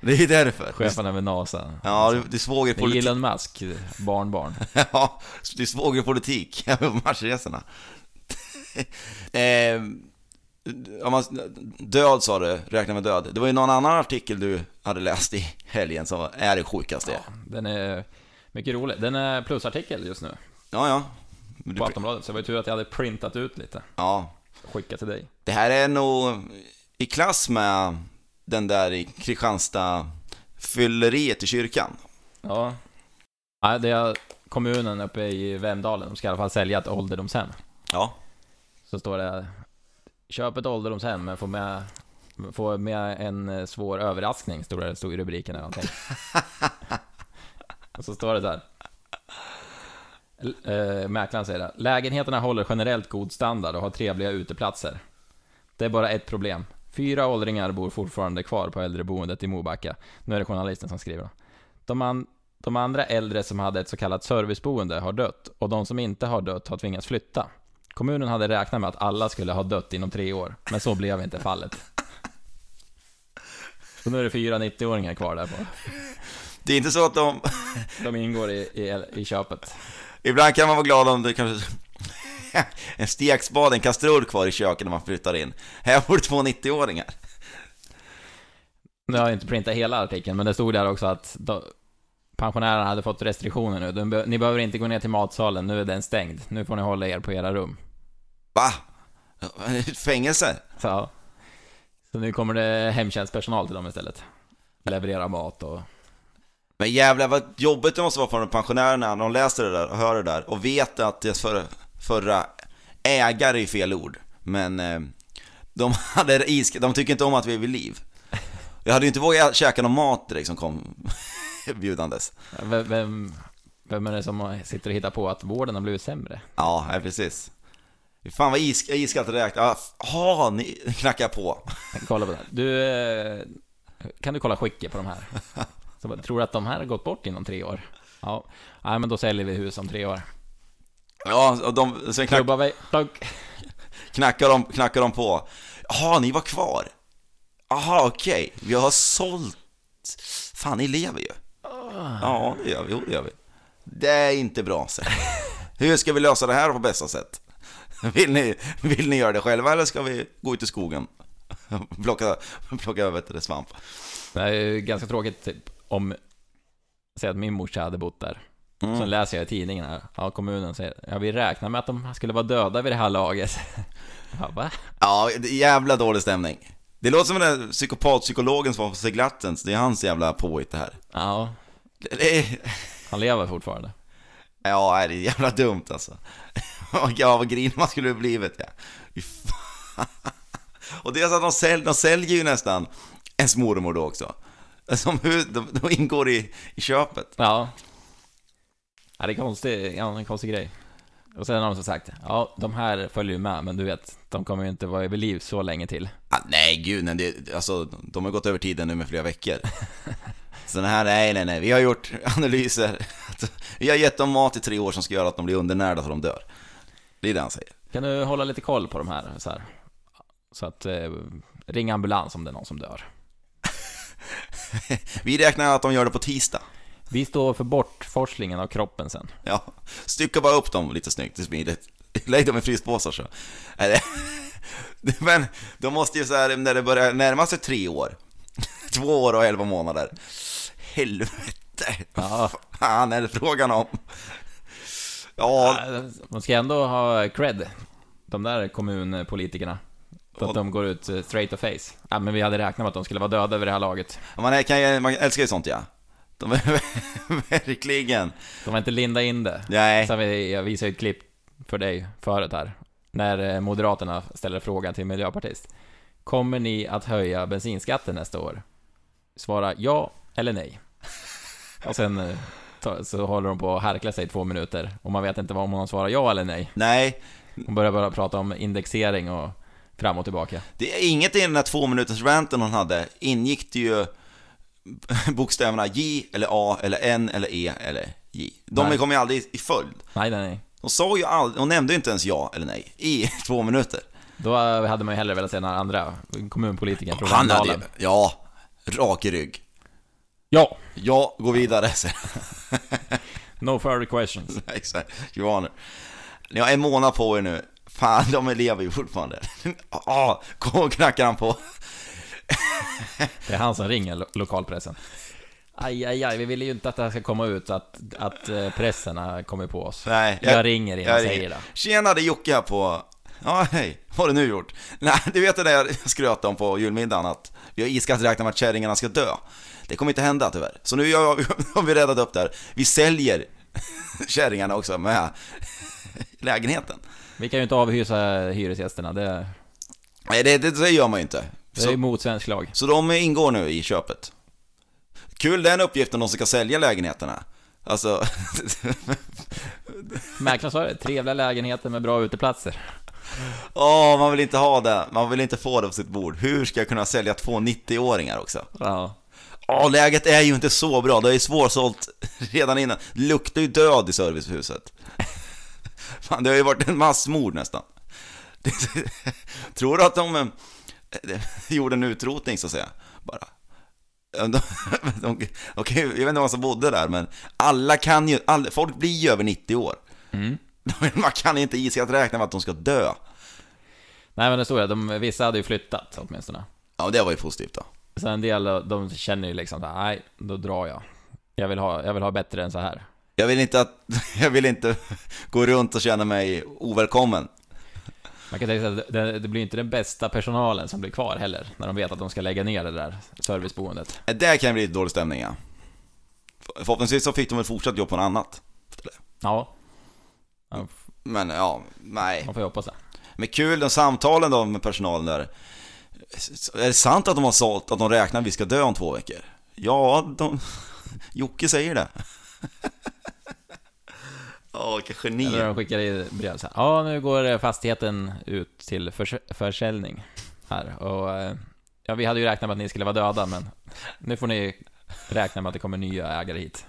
Speaker 1: Det är därför.
Speaker 2: Chefen över NASA.
Speaker 1: Ja, det- det är
Speaker 2: Det är
Speaker 1: svågerpolitik.
Speaker 2: Elon Musk, barnbarn.
Speaker 1: Ja, det är svågerpolitik på matchresorna. eh, om man, död sa du, räkna med död. Det var ju någon annan artikel du hade läst i helgen som är det sjukaste. Ja,
Speaker 2: Den är mycket rolig. Den är plusartikel just nu
Speaker 1: ja. ja. Men
Speaker 2: på
Speaker 1: Du,
Speaker 2: Aftonbladet, så det var ju tur att jag hade printat ut lite.
Speaker 1: ja.
Speaker 2: Skickat till dig.
Speaker 1: Det här är nog i klass med den där i Kristianstad fylleriet i kyrkan.
Speaker 2: Ja. ja det är kommunen uppe i Vemdalen, de ska i alla fall sälja ett ålderdomshem.
Speaker 1: Ja.
Speaker 2: Så står det Köp ett ålderdomshem men få med, få med en eh, svår överraskning, stod det, stod i rubriken eller någonting. Och så står det så här. L- eh, mäklaren säger det. Lägenheterna håller generellt god standard och har trevliga uteplatser. Det är bara ett problem. Fyra åldringar bor fortfarande kvar på äldreboendet i Mobacka. Nu är det journalisten som skriver. då. De, an, de andra äldre som hade ett så kallat serviceboende har dött och de som inte har dött har tvingats flytta. Kommunen hade räknat med att alla skulle ha dött inom tre år, men så blev inte fallet. Så nu är det fyra 90-åringar kvar där bara.
Speaker 1: Det är inte så att de...
Speaker 2: De ingår i, i, i köpet.
Speaker 1: Ibland kan man vara glad om det kanske... En stekspad, en kastrull kvar i köket när man flyttar in. Här bor det två 90-åringar.
Speaker 2: Nu har jag inte printat hela artikeln, men det stod där också att de, pensionärerna hade fått restriktioner nu. De, be- ni behöver inte gå ner till matsalen, nu är den stängd. Nu får ni hålla er på era rum.
Speaker 1: Va? Ett fängelse?
Speaker 2: Så, ja. så nu kommer det hemtjänstpersonal till dem istället. Leverera mat och...
Speaker 1: Men jävlar vad jobbigt det måste vara för de pensionärerna när de läser det där och hör det där och vet att deras förra, förra ägare är fel ord. Men eh, de, hade isk- de tycker inte om att vi är vid liv. Jag hade ju inte vågat käka någon mat direkt som kom bjudandes.
Speaker 2: Vem, vem, vem är det som sitter och hittar på att vården har blivit sämre?
Speaker 1: Ja, ja precis. Fan vad is, iskallt räknat. Jaha, ni knackar på.
Speaker 2: Kolla på den. Du, eh, kan du kolla skicket på de här? Så, bara, tror du att de här har gått bort inom tre år? Ja, nej men då säljer vi hus om tre år.
Speaker 1: Ja, och de, sen knack,
Speaker 2: Klubbar vi, plunk.
Speaker 1: knackar, de, knackar de på. Jaha, ni var kvar? Jaha, okej. Vi har sålt... Fan, ni lever ju. Ja, det gör vi. Jo, det gör vi. Det är inte bra, säger jag. Hur ska vi lösa det här på bästa sätt? Vill ni, vill ni göra det själva eller ska vi gå ut i skogen? Plocka, plocka vet du, svamp.
Speaker 2: Det här är ju ganska tråkigt typ, om, säg att min morsa hade bott där.
Speaker 1: Mm.
Speaker 2: Så läser jag i tidningen här, ja kommunen säger, ja vi räknar med att de skulle vara döda vid det här laget. Ja, va?
Speaker 1: Ja, det är jävla dålig stämning. Det låter som den där psykopatpsykologen som var på seglattens, det är hans jävla påhitt det här.
Speaker 2: Ja,
Speaker 1: Det är,
Speaker 2: han lever fortfarande.
Speaker 1: ja, nej, det är jävla dumt alltså. Ja, vad grinig man skulle ha blivit ja. Fy fan. Och det är så att de säljer, de säljer ju nästan ens mormor då också. Som hur, de, de ingår i, i köpet.
Speaker 2: Ja. ja det är konstig, ja, en konstig grej. Och sen har de som sagt, ja, de här följer ju med, men du vet, de kommer ju inte vara vid liv så länge till.
Speaker 1: Ah, nej, gud, nej, det, alltså, de har gått över tiden nu med flera veckor. Så den här, nej, nej, nej, vi har gjort analyser. Vi har gett dem mat i tre år som ska göra att de blir undernärda så de dör. Det är det han säger.
Speaker 2: Kan du hålla lite koll på de här, så här? Så att, eh, ring ambulans om det är någon som dör.
Speaker 1: Vi räknar att de gör det på tisdag.
Speaker 2: Vi står för bortforslingen av kroppen sen.
Speaker 1: Ja, stycka bara upp dem lite snyggt och smidigt. Lägg dem i fryspåsar så. Är det- Men de måste ju så här, när det börjar närma sig tre år, två år och elva månader. Helvete!
Speaker 2: Ja.
Speaker 1: Vad fan är det frågan om? Ja,
Speaker 2: De ska ändå ha cred, de där kommunpolitikerna. För att de går ut eh, straight to face. Ja, men vi hade räknat med att de skulle vara döda vid det här laget.
Speaker 1: man, kan, ju- man älskar ju sånt ja. De- De är verkligen...
Speaker 2: De har inte lindat in det.
Speaker 1: Nej,
Speaker 2: Sen vi, jag visade ju ett klipp för dig förut här. När eh, Moderaterna ställer frågan till Miljöpartiet. Kommer ni att höja bensinskatten nästa år? Svara ja eller nej. Och sen eh, ta- så håller de på att härkla sig i två minuter och man vet inte vad- om hon svarar ja eller nej.
Speaker 1: nej.
Speaker 2: Hon börjar bara prata om indexering och fram och tillbaka.
Speaker 1: Det är inget i den här två minuters ranten hon hade ingick det ju bokstäverna J eller A eller N eller E eller J. De
Speaker 2: Nej.
Speaker 1: kom ju aldrig i följd.
Speaker 2: Nej, nej, nej.
Speaker 1: Hon sa ju aldrig, hon nämnde ju inte ens ja eller nej i två minuter.
Speaker 2: Då eh, hade man ju hellre velat se den här andra kommunpolitikern från
Speaker 1: Han hade ju,
Speaker 2: Vemdalen.
Speaker 1: ja, rak i rygg.
Speaker 2: Ja!
Speaker 1: Ja, gå vidare, säger
Speaker 2: No further questions.
Speaker 1: han. Exakt, Your Honor. Ni har en månad på er nu. Fan, de lever ju fortfarande. Ja, kom och knackar han på.
Speaker 2: Det är han som ringer lo- lokalpressen. Aj, aj, aj, vi ville ju inte att det här ska komma ut, att, att eh, pressen har kommit på oss.
Speaker 1: Nej,
Speaker 2: jag, ringer in och säger det.
Speaker 1: Tjena, det är Jocke här på... Ja, hej. Vad har du nu gjort? Nej, du vet det där jag skröt om på julmiddagen att vi har iskallt räknat med att kärringarna ska dö. Det kommer inte hända tyvärr. Så nu har vi- har vi räddat upp det här. Vi säljer kärringarna också med lägenheten.
Speaker 2: Vi kan ju inte avhysa hyresgästerna, det,
Speaker 1: Nej, det, det, det gör man ju inte.
Speaker 2: det är ju
Speaker 1: Så,
Speaker 2: mot svensk lag.
Speaker 1: så de ingår nu i köpet. Kul den uppgiften, de som ska sälja lägenheterna. Alltså,
Speaker 2: Mäklaren sa det, trevliga lägenheter med bra uteplatser.
Speaker 1: åh, man vill inte ha det. Man vill inte få det på sitt bord. Hur ska jag kunna sälja två 90-åringar också?
Speaker 2: Ja.
Speaker 1: Ja, läget är ju inte så bra. Det är ju svårsålt redan innan. Det luktar ju död i servicehuset. Fan, det har ju varit en massmord nästan. Det- Tror du att de eh, gjorde en utrotning så att säga? Bara. De, de, de, okej, jag vet inte vad som bodde där, men alla kan ju, all, folk blir ju över 90 år.
Speaker 2: Mm.
Speaker 1: Man kan inte i sig att räkna med att de ska dö.
Speaker 2: Nej men det stod det, de, vissa hade ju flyttat åtminstone.
Speaker 1: Ja, det var ju positivt då.
Speaker 2: Så en del, de känner ju liksom så här, nej, då drar jag. Jag vill ha, jag vill ha bättre än så här.
Speaker 1: Jag vill inte att, jag vill inte gå runt och känna mig ovälkommen.
Speaker 2: Man kan tänka sig att det, det blir inte den bästa personalen som blir kvar heller, när de vet att de ska lägga ner det där serviceboendet.
Speaker 1: Där kan det bli lite dålig stämning ja. Förhoppningsvis så fick de väl fortsatt jobb på något annat.
Speaker 2: Ja. ja
Speaker 1: Men ja, nej.
Speaker 2: man får ju hoppas det.
Speaker 1: Men kul, de samtalen då med personalen där. S- Är det sant att de har sålt, att de räknar att vi ska dö om två veckor? Ja, de... Jocke säger det. Åh, vilka
Speaker 2: Eller
Speaker 1: genier.
Speaker 2: de skickar i brev så här. Ja, nu går fastigheten ut till förs försäljning här. Och eh, ja, vi hade ju räknat med att ni skulle vara döda, men nu får ni räkna med att det kommer nya ägare hit.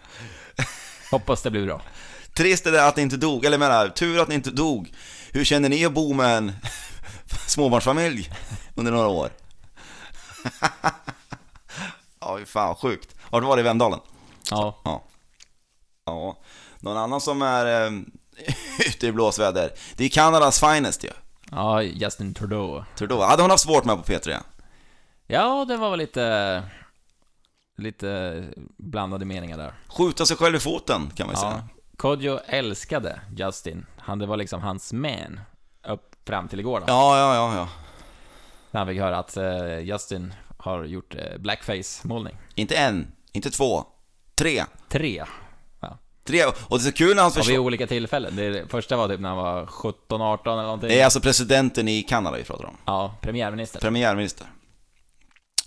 Speaker 2: Hoppas det blir bra.
Speaker 1: Trist är det att ni inte dog, eller jag menar, tur att ni inte dog. Hur känner ni att bo med en småbarnsfamilj under några år? Ja, fy fan sjukt. Har du varit i Vemdalen?
Speaker 2: Ja,
Speaker 1: Ja. Ja. Någon annan som är eh, ute i blåsväder, det är Kanadas finest ju.
Speaker 2: ja Justin Trudeau.
Speaker 1: Trudeau, hade hon haft svårt med på P3?
Speaker 2: Ja, det var väl lite... Lite blandade meningar där.
Speaker 1: Skjuta sig själv i foten kan man ju
Speaker 2: Ja.
Speaker 1: säga.
Speaker 2: Kodjo älskade Justin. Han, det var liksom hans man. Upp fram till igår då.
Speaker 1: Ja, ja, ja, ja.
Speaker 2: När han fick höra att eh, Justin har gjort eh, blackface-målning.
Speaker 1: Inte en, inte två, tre.
Speaker 2: Tre. Ja.
Speaker 1: Tre, och det är så kul när hans
Speaker 2: Och vid
Speaker 1: försvar...
Speaker 2: olika tillfällen. Det första var typ när han var 17, 18 eller någonting.
Speaker 1: Det är alltså presidenten i Kanada vi pratar om.
Speaker 2: Ja, premiärminister.
Speaker 1: Premiärminister.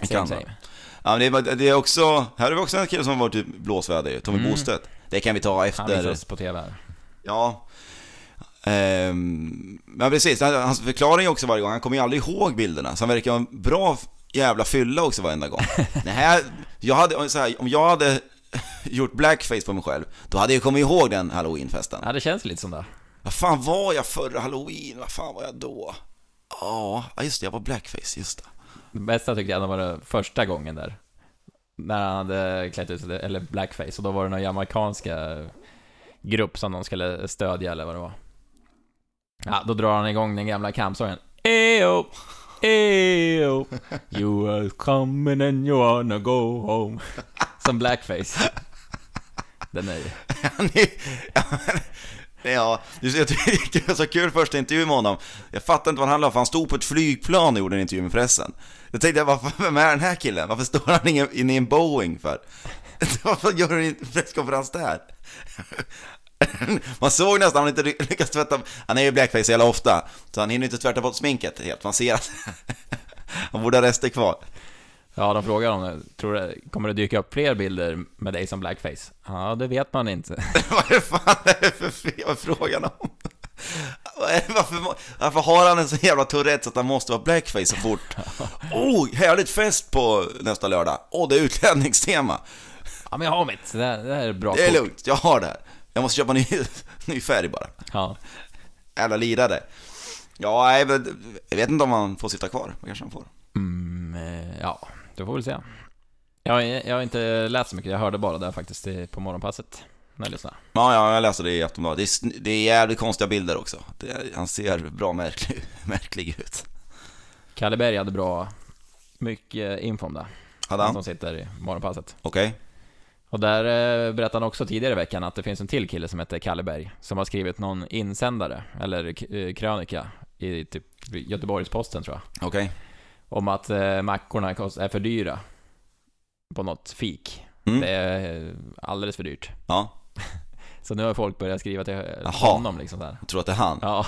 Speaker 1: I
Speaker 2: Same,
Speaker 1: Kanada.
Speaker 2: same.
Speaker 1: Ja, men det, är, bara- det är också, här är vi också en kille som har varit i blåsväder ju, Tommy Bostedt. Mm. Det kan vi ta
Speaker 2: Han
Speaker 1: efter...
Speaker 2: visades på TV här.
Speaker 1: Ja. Ehm, men precis, han- hans förklaring också varje gång, han kommer ju aldrig ihåg bilderna, så han verkar ha en bra f- jävla fylla också varenda gång. Det här, jag hade, om så här, om jag hade gjort blackface på mig själv, då hade jag kommit ihåg den halloweenfesten.
Speaker 2: Ja, det känns lite som det.
Speaker 1: Vad fan var jag förra halloween? Vad fan var jag då? Ja, ja, just det, jag var blackface, just det.
Speaker 2: Det bästa tyckte jag ändå var den första gången där. När han hade klätt ut sig, eller blackface, och då var det någon jamaicanska grupp som de skulle stödja eller vad det var. Ja, då drar han igång den gamla kampsången. Eyo, eyo, you are coming and you wanna go home. Som blackface. Den är ju...
Speaker 1: Han är- Ja, men- Ja, du ser, jag tyckte det var så kul första intervjun med honom. Jag fattar inte vad han la för han stod på ett flygplan och gjorde en intervju med pressen. Jag tänkte, varför, vem är den här killen? Varför står han inne i en Boeing för? Varför gör du en presskonferens där? Man såg nästan att han inte lyckas tvätta, han är ju blackface jävla ofta, så han hinner inte tvätta bort sminket helt. Man ser att han borde ha rester kvar.
Speaker 2: Ja, de frågar om tror det, kommer det dyka upp fler bilder med dig som blackface? Ja, det vet man inte.
Speaker 1: Vad är fan är det för fel vad är frågan om? Vad är det- Varför, må- varför har han en så jävla Tourettes att han måste vara blackface så fort? Oh, härligt fest på nästa lördag! Åh, det är utlänningstema!
Speaker 2: Ja, men jag har mitt. Det här, det här är bra
Speaker 1: Det är
Speaker 2: kort.
Speaker 1: lugnt, jag har det här. Jag måste köpa ny, ny färg bara.
Speaker 2: Ja.
Speaker 1: Jävla lirare. Ja, nej, men jag vet inte om han får sitta kvar. Det kanske han får.
Speaker 2: Mm, eh, ja, det får vi väl se. Jag, har- jag har inte läst så mycket, jag hörde bara det här faktiskt i- på morgonpasset när jag lyssnade.
Speaker 1: Ja, ja, jag läste det i Aftonbladet. Det är, sn- det är jävligt konstiga bilder också. Det, han ser bra märklig, märklig ut.
Speaker 2: Kalle Berg hade bra, mycket info om det.
Speaker 1: Hade han?
Speaker 2: Som sitter i morgonpasset.
Speaker 1: Okej.
Speaker 2: Och där eh, berättade han också tidigare i veckan att det finns en till kille som heter Kalle Berg, som har skrivit någon insändare, eller k- eh, krönika, i typ Göteborgs-Posten tror jag.
Speaker 1: Okej.
Speaker 2: Om att eh, mackorna kost- är för dyra. På något fik.
Speaker 1: Mm.
Speaker 2: Det är eh, alldeles för dyrt.
Speaker 1: Ja,
Speaker 2: Så nu har folk börjat skriva till eh,
Speaker 1: Jaha.
Speaker 2: honom liksom där.
Speaker 1: jag tror att det är han.
Speaker 2: Ja,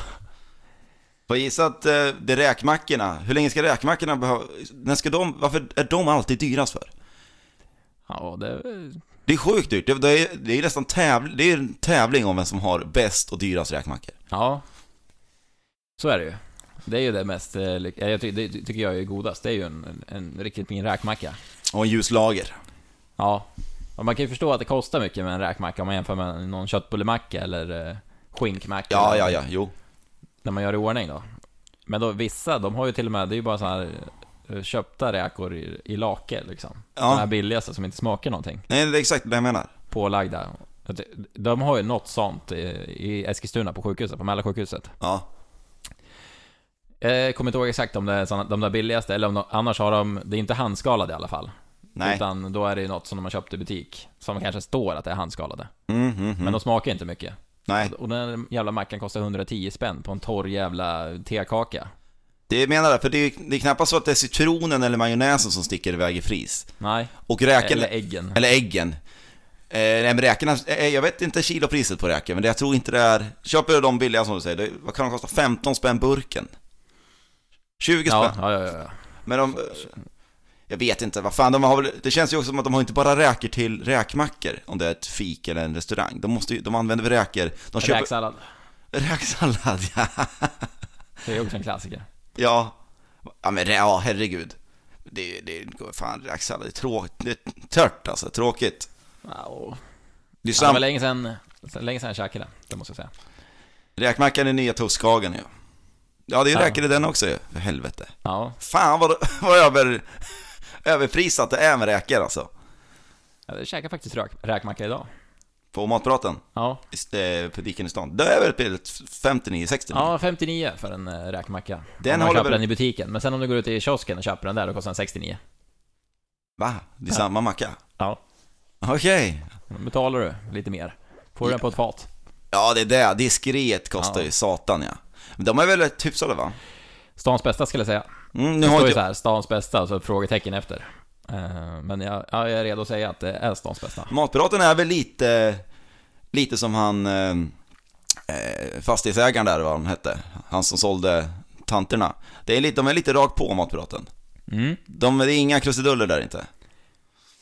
Speaker 1: Får jag gissa att eh, det är räkmackorna. Hur länge ska räkmackorna behöva... När ska de... Varför är de alltid dyrast för?
Speaker 2: ja det,
Speaker 1: Det är sjukt dyrt. Det, det är, det är nästan tävling... Det är en tävling om vem som har bäst och dyrast räkmackor.
Speaker 2: ja. Så är det ju. Det är ju det mest, eh, ly- ja, jag ty, det tycker jag är godast. Det är ju en, en, en riktigt fin räkmacka.
Speaker 1: Och en ljus lager.
Speaker 2: Ja. Och man kan ju förstå att det kostar mycket med en räkmacka om man jämför med någon köttbullemacka eller eh, skinkmacka.
Speaker 1: Ja, ja, ja, jo.
Speaker 2: När man gör i ordning då. Men då, vissa, de har ju till och med, det är ju bara så här eh, köpta räkor i, i lake liksom.
Speaker 1: Ja.
Speaker 2: De här billigaste som inte smakar någonting.
Speaker 1: Nej, det är exakt det jag menar.
Speaker 2: Pålagda. Att De har ju något sånt i, i Eskilstuna på sjukhuset, på Mälarsjukhuset.
Speaker 1: Ja.
Speaker 2: Jag Eh, kommer inte ihåg exakt om det är såna, de där billigaste, eller om de, annars har de, det är inte handskalade i alla fall.
Speaker 1: Nej.
Speaker 2: Utan då är det ju något som de har köpt i butik, som kanske står att det är handskalade.
Speaker 1: Mm, mm,
Speaker 2: Men
Speaker 1: mm.
Speaker 2: de smakar inte mycket.
Speaker 1: Nej.
Speaker 2: Och den jävla mackan kostar 110 spänn på en torr jävla tekaka.
Speaker 1: Det menar jag, för det är, det är knappast så att det är citronen eller majonnäsen som sticker iväg i fris.
Speaker 2: Nej,
Speaker 1: Och räken...
Speaker 2: eller äggen.
Speaker 1: Eller äggen. Eh, nej men räkorna, eh, jag vet inte kilopriset på räkor, men det, jag tror inte det är... Köper du de billiga som du säger, det, vad kan de kosta? 15 spänn burken? 20
Speaker 2: Ja,
Speaker 1: spänn?
Speaker 2: ja, ja, ja.
Speaker 1: Men de... eh, Jag vet inte, vad fan, de har väl, det känns ju också som att de har inte bara räkor till räkmackor, om det är ett fik eller en restaurang. De, måste ju, de använder väl räkor, de köper...
Speaker 2: Räksallad.
Speaker 1: Räksallad, ja.
Speaker 2: Det är också en klassiker.
Speaker 1: Ja, ja men ja, herregud. Det, det går fan räksallad, det är tråkigt, det är tört alltså, tråkigt.
Speaker 2: Wow.
Speaker 1: Det är
Speaker 2: Ja, det var
Speaker 1: samma,
Speaker 2: länge sedan, länge sedan jag käkade den, det måste jag säga.
Speaker 1: räkmackan är nya Tuskhagen ju. Ja, det är ju
Speaker 2: Ja.
Speaker 1: räkor i den också ju, för helvete.
Speaker 2: Ja,
Speaker 1: Fan vad, vad över, överprisat det är med räkor alltså.
Speaker 2: jag käkade faktiskt räk, räkmacka idag.
Speaker 1: På matpraten,
Speaker 2: Ja,
Speaker 1: i st- eh, butiken i stan. Det är väl till 59-60
Speaker 2: ja 59 för en eh, räkmacka.
Speaker 1: Den
Speaker 2: Den man
Speaker 1: håller
Speaker 2: köper
Speaker 1: väl-
Speaker 2: den i butiken, men sen om du går ut i kiosken och köper den där, då kostar den 69.
Speaker 1: Va? Det är samma macka?
Speaker 2: Ja.
Speaker 1: Okej.
Speaker 2: Då betalar du lite mer. Får du den på ett fat.
Speaker 1: Ja, det är det. Diskret kostar
Speaker 2: Ja.
Speaker 1: ju satan ja. Men de är väl rätt hyfsade va?
Speaker 2: Stans bästa skulle jag säga.
Speaker 1: Mm, nu
Speaker 2: Det
Speaker 1: har
Speaker 2: står ju
Speaker 1: inte...
Speaker 2: så här, stans bästa, och så ett frågetecken efter. Eh, Men jag, ja, jag är redo att säga att det är stans bästa.
Speaker 1: Matpiraten är väl lite, lite som han eh, eh, fastighetsägaren där, vad han hette, han som sålde tanterna. Det är lite, de är lite rakt på Matpiraten.
Speaker 2: Mm.
Speaker 1: De, det är inga krusiduller där inte.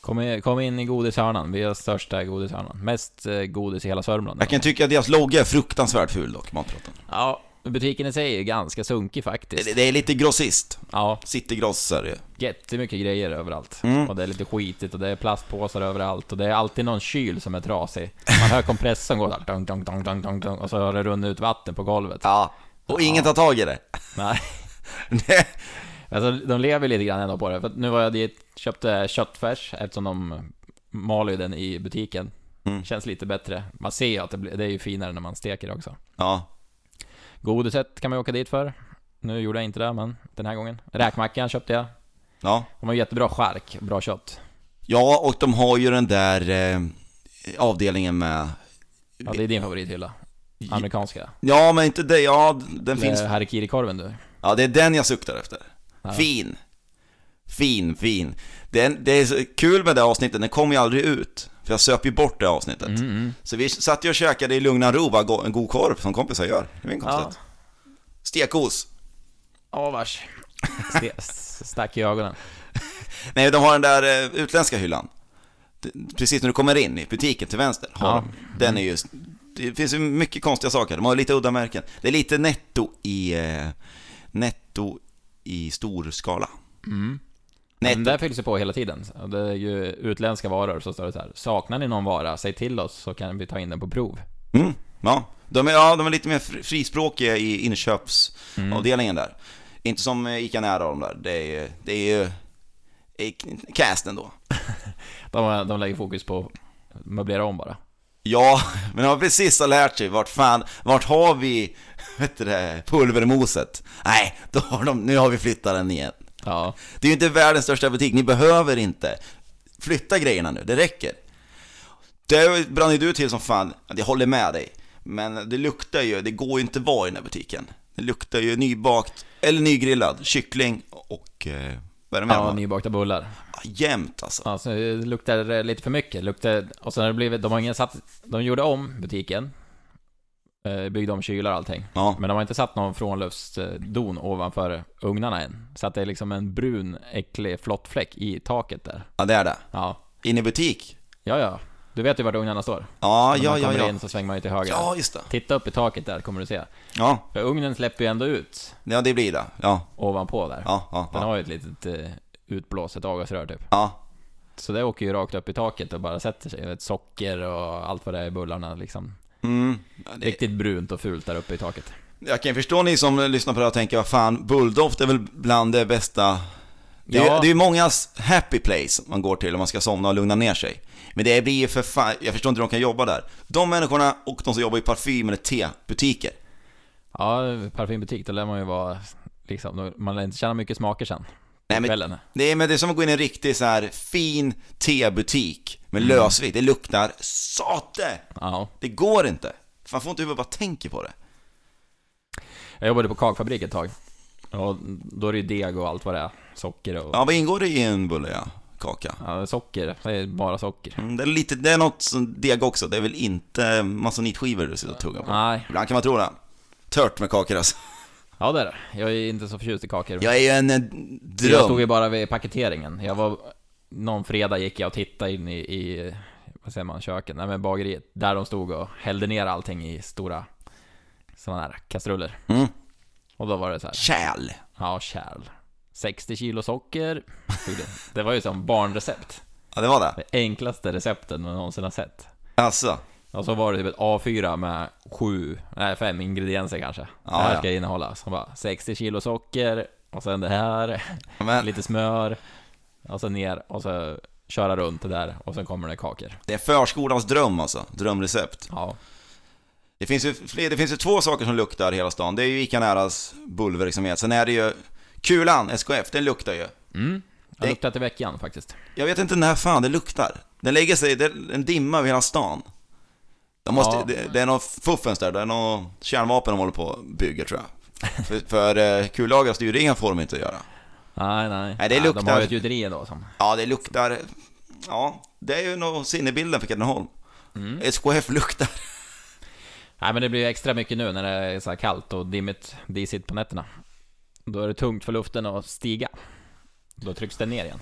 Speaker 2: Kom, i- kom in i godishörnan, vi är största godishörnan. Mest eh, godis i hela Sörmland.
Speaker 1: Jag kan tycka att deras logga är fruktansvärt ful dock, Matpiraten.
Speaker 2: Ja, butiken i sig är ganska sunkig faktiskt.
Speaker 1: Det, det är lite grossist,
Speaker 2: Ja,
Speaker 1: citygross är det ju.
Speaker 2: jättemycket grejer överallt.
Speaker 1: Mm.
Speaker 2: Och det är lite skitigt och det är plastpåsar överallt och det är alltid någon kyl som är trasig. Man hör kompressorn gå där, dong, dong, dong, dong, dong, dong, och så har det runnit ut vatten på golvet.
Speaker 1: Ja. Och ingen tar tag i det.
Speaker 2: Nej.
Speaker 1: Det-
Speaker 2: Alltså, de lever lite grann ändå på det. För att nu var jag dit, köpte köttfärs eftersom de maler ju den i butiken.
Speaker 1: Mm.
Speaker 2: Känns lite bättre. Man ser ju att det, blir, det är ju finare när man steker det också.
Speaker 1: ja.
Speaker 2: Godiset kan man ju åka dit för. Nu gjorde jag inte det, men den här gången. Räkmackan köpte jag.
Speaker 1: Ja.
Speaker 2: De har jättebra chark, bra kött.
Speaker 1: Ja, och de har ju den där eh, avdelningen med...
Speaker 2: Ja, det är din favorithylla. Amerikanska.
Speaker 1: Ja, men inte det. Ja, den finns
Speaker 2: Harikiri-korven du.
Speaker 1: Ja, det är den jag suktar efter.
Speaker 2: Ja.
Speaker 1: Fin. Fin, fin. Det är, det är så kul med det avsnittet, den kom ju aldrig ut. För jag söp ju bort det avsnittet.
Speaker 2: Mm, mm.
Speaker 1: Så vi satt ju och käkade i lugna ro, bara go- en god korv som kompisar gör. Det är inget
Speaker 2: Ja,
Speaker 1: konstigt. Stekos.
Speaker 2: ja vars. Ste- s- Stack i ögonen.
Speaker 1: Nej, de har den där eh, utländska hyllan. D- Precis när du kommer in i butiken till vänster har
Speaker 2: Ja.
Speaker 1: de. Den är just... Det finns ju mycket konstiga saker. De har lite udda märken. Det är lite netto i... eh, Netto i stor skala.
Speaker 2: Mm.
Speaker 1: Netto.
Speaker 2: Den där fylls ju på hela tiden. Och Det är ju utländska varor, så står det så här. Saknar ni någon vara, säg till oss så kan vi ta in den på prov.
Speaker 1: Mm, ja. De är, ja, de är lite mer fri- frispråkiga i inköpsavdelningen där. Inte som eh, Ica Nära och de där. Det är ju... Det är ju det är k- cast ändå.
Speaker 2: De, de lägger fokus på att möblera om bara.
Speaker 1: Ja, men de har precis har lärt sig vart fan, vart har vi vet du det, pulvermoset? Nej, då har de, nu har vi flyttat den igen.
Speaker 2: Ja,
Speaker 1: Det är ju inte världens största butik, ni behöver inte flytta grejerna nu, det räcker. Det brann ju du till som fan, jag håller med dig. Men det luktar ju, det går ju inte att vara i den här butiken. Det luktar ju nybakt, eller nygrillad, kyckling och... Eh, vad är det mer?
Speaker 2: ja
Speaker 1: Ja,
Speaker 2: nybakta bullar.
Speaker 1: Jämt alltså.
Speaker 2: Ja, så det luktar det lite för mycket. Luktar, och sen har det blivit, de har ingen satt, de gjorde om butiken. Eh, Byggde om kylar och allting.
Speaker 1: Ja.
Speaker 2: Men de har inte satt någon frånluftsdon ovanför ugnarna än. Så att det är liksom en brun, äcklig flottfläck i taket där.
Speaker 1: ja, det är det.
Speaker 2: Ja,
Speaker 1: In i butik.
Speaker 2: ja, ja. Du vet ju vart ugnarna står.
Speaker 1: Ja,
Speaker 2: När
Speaker 1: ja,
Speaker 2: man
Speaker 1: ja,
Speaker 2: kommer
Speaker 1: ja.
Speaker 2: in så svänger man ju till höger.
Speaker 1: Ja, just det.
Speaker 2: Titta upp i taket där kommer du se.
Speaker 1: Ja,
Speaker 2: För ugnen släpper ju ändå ut
Speaker 1: ja det blir det. Ja,
Speaker 2: ovanpå där.
Speaker 1: ja, ja.
Speaker 2: Den
Speaker 1: ja.
Speaker 2: har ju ett litet eh, utblåset avgasrör typ.
Speaker 1: Ja,
Speaker 2: Så det åker ju rakt upp i taket och bara sätter sig. Ett socker och allt vad det är i bullarna liksom.
Speaker 1: mm. Ja, det,
Speaker 2: Riktigt brunt och fult där uppe i taket.
Speaker 1: jag kan ju förstå ni som lyssnar på det här och tänker, vad fan, bulldoft är väl bland det bästa... Det är,
Speaker 2: Ja.
Speaker 1: det är ju mångas happy place man går till om man ska somna och lugna ner sig. Men det blir ju för fan, jag förstår inte hur de kan jobba där. De människorna och de som jobbar i parfym eller tebutiker.
Speaker 2: Ja, parfymbutik, då lär man ju vara liksom, då- man lär inte känna mycket smaker sen.
Speaker 1: Nej, men-
Speaker 2: Kvällen.
Speaker 1: Det är, men det är som att gå in i en riktig så här fin tebutik med lösvikt. Det luktar sate!
Speaker 2: Ja.
Speaker 1: Det går inte. Man får inte huvudet bara tänker på det.
Speaker 2: Jag jobbade på kakfabrik ett tag. Och då är det ju deg och allt vad det är. Socker och...
Speaker 1: Ja, vad ingår det i en bulle, ja? Kaka?
Speaker 2: Ja, socker. Det är bara socker.
Speaker 1: Mm, Det är, lite, det är något som deg också, det är väl inte massa nitskivor du sitter och tuggar på?
Speaker 2: Nej.
Speaker 1: Ibland kan man tro det. Tört med kakor alltså.
Speaker 2: Ja, det är det. Jag är inte så förtjust i kakor.
Speaker 1: Jag är ju en eh,
Speaker 2: Jag stod
Speaker 1: dröm.
Speaker 2: ju bara vid paketeringen. Jag var... Någon fredag gick jag och tittade in i, i vad säger man, köken? Nej men bageriet. Där de stod och hällde ner allting i stora sådana här kastruller.
Speaker 1: Mm.
Speaker 2: Och då var det så här.
Speaker 1: Kärl.
Speaker 2: Ja, kärl. 60 kilo socker. Tog det. Det var ju som barnrecept.
Speaker 1: Ja, det var det.
Speaker 2: Det enklaste recepten man någonsin har sett.
Speaker 1: Alltså.
Speaker 2: Och så var det typ ett A4 med sju, nej fem ingredienser kanske. det här
Speaker 1: ja.
Speaker 2: ska innehålla. Så bara 60 kilo socker, och sen det här,
Speaker 1: Men
Speaker 2: lite smör, och så ner, och så köra runt det där, och sen kommer det kakor.
Speaker 1: det är förskolans dröm alltså. Drömrecept.
Speaker 2: Ja.
Speaker 1: Det finns ju, fler, det finns ju två saker som luktar hela stan. Det är ju Ica Näras bulverksamhet. Sen är det ju Kulan, SKF, den luktar ju.
Speaker 2: Mm. Jag
Speaker 1: Det-
Speaker 2: har luktat i veckan faktiskt.
Speaker 1: Jag vet inte när fan det luktar. Den lägger sig, det är en dimma över hela stan. De måste,
Speaker 2: Ja.
Speaker 1: det, det är någon fuffens där, det är någon kärnvapen de håller på och bygger tror jag. För, för eh, kullager och styrringar får de inte göra.
Speaker 2: Nej, nej.
Speaker 1: Nej, det
Speaker 2: Ja,
Speaker 1: luktar-
Speaker 2: De har ju ett gjuteri ändå som...
Speaker 1: Ja, det luktar... Ja, det är ju nog sinnebilden för Katrineholm.
Speaker 2: Mm.
Speaker 1: SKF luktar.
Speaker 2: Nej, men det blir ju extra mycket nu när det är så här kallt och dimmigt, disigt på nätterna. Då är det tungt för luften att stiga. Då trycks den ner igen.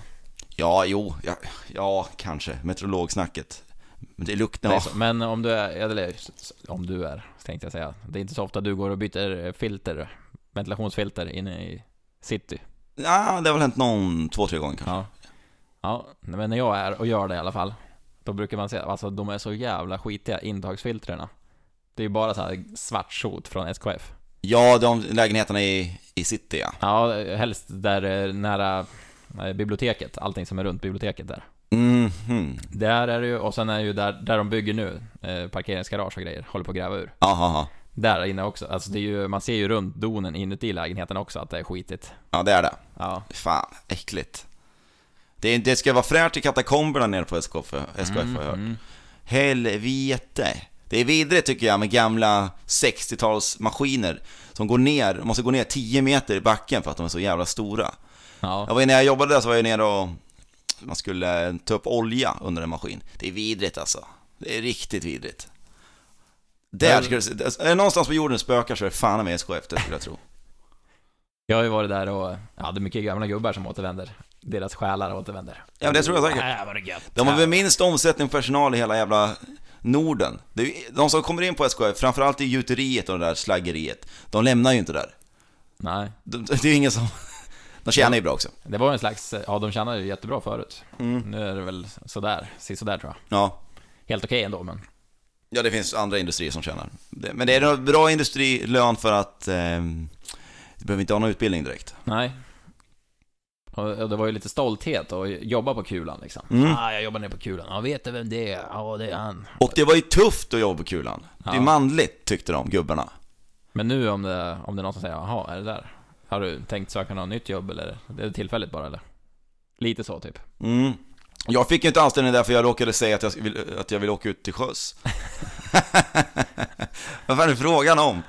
Speaker 1: Ja, jo, ja, ja kanske. Meteorologsnacket. Men det luktar...
Speaker 2: Det är
Speaker 1: Ja.
Speaker 2: så. Men om du är, eller om du är, tänkte jag säga. Det är inte så ofta du går och byter filter, ventilationsfilter inne i city.
Speaker 1: ja, det har väl hänt någon två, tre gånger kanske.
Speaker 2: Ja. Ja, men när jag är och gör det i alla fall. Då brukar man säga, alltså de är så jävla skitiga intagsfiltrerna. Det är ju bara så här svart sot från SKF.
Speaker 1: Ja, de lägenheterna i, i city ja.
Speaker 2: Ja, helst där eh, nära eh, biblioteket, allting som är runt biblioteket där.
Speaker 1: Mhm.
Speaker 2: Där är det ju, och sen är det ju där, där de bygger nu, eh, parkeringsgarage och grejer, håller på att gräva ur.
Speaker 1: Aha, aha.
Speaker 2: Där inne också. Alltså det är ju, man ser ju runt donen inuti lägenheten också att det är skitigt.
Speaker 1: Ja, det är det.
Speaker 2: Ja.
Speaker 1: Fan, äckligt. Det, är- det ska vara fräscht i katakomberna nere på SKF, SKF har jag hört.
Speaker 2: Mm.
Speaker 1: Helvete. Det är vidrigt tycker jag med gamla 60-talsmaskiner som går ner, måste gå ner 10 meter i backen för att de är så jävla stora. Jag
Speaker 2: Ja.
Speaker 1: var ju, när jag jobbade där så var jag nere och man skulle eh, ta upp olja under en maskin. Det är vidrigt alltså. Det är riktigt vidrigt. Där
Speaker 2: Jag-
Speaker 1: skulle, det se- är det någonstans på jorden spökar så är det fan med SKF, det skulle jag tro.
Speaker 2: Jag har ju varit där och jag hade mycket gamla gubbar som återvänder. Deras själar återvänder.
Speaker 1: Ja, men det tror jag säkert.
Speaker 2: Nej, vad det gött.
Speaker 1: De har väl minst omsättning på personal i hela jävla Norden. Det är, ju- de som kommer in på SKF, framförallt i gjuteriet och det där slaggeriet, de lämnar ju inte där.
Speaker 2: Nej.
Speaker 1: De, det är ju ingen som... De tjänar ju bra också.
Speaker 2: Det var en slags, ja de tjänade ju jättebra förut.
Speaker 1: Mm.
Speaker 2: Nu är det väl sådär, sådär tror jag.
Speaker 1: Ja.
Speaker 2: Helt okej ändå men.
Speaker 1: ja, det finns andra industrier som tjänar. Det- Men det är en bra industrilön för att... Eh, du behöver inte ha någon utbildning direkt.
Speaker 2: Nej. Och och det var ju lite stolthet att jobba på kulan liksom.
Speaker 1: Mm.
Speaker 2: Ah, jag jobbar ner på kulan. Ja, vet du vem det är? Ja, det är han.
Speaker 1: Och det var ju tufft att jobba på Kulan. Det är
Speaker 2: Ja.
Speaker 1: manligt, tyckte de, gubbarna.
Speaker 2: Men nu om det, om det är någon som säger jaha, är det där? Har du tänkt söka något nytt jobb eller? Det är tillfälligt bara eller? Lite så typ.
Speaker 1: Mm. Jag fick ju inte anställning där för jag råkade säga att jag vill, att jag vill åka ut till sjöss. Vad fan är frågan om?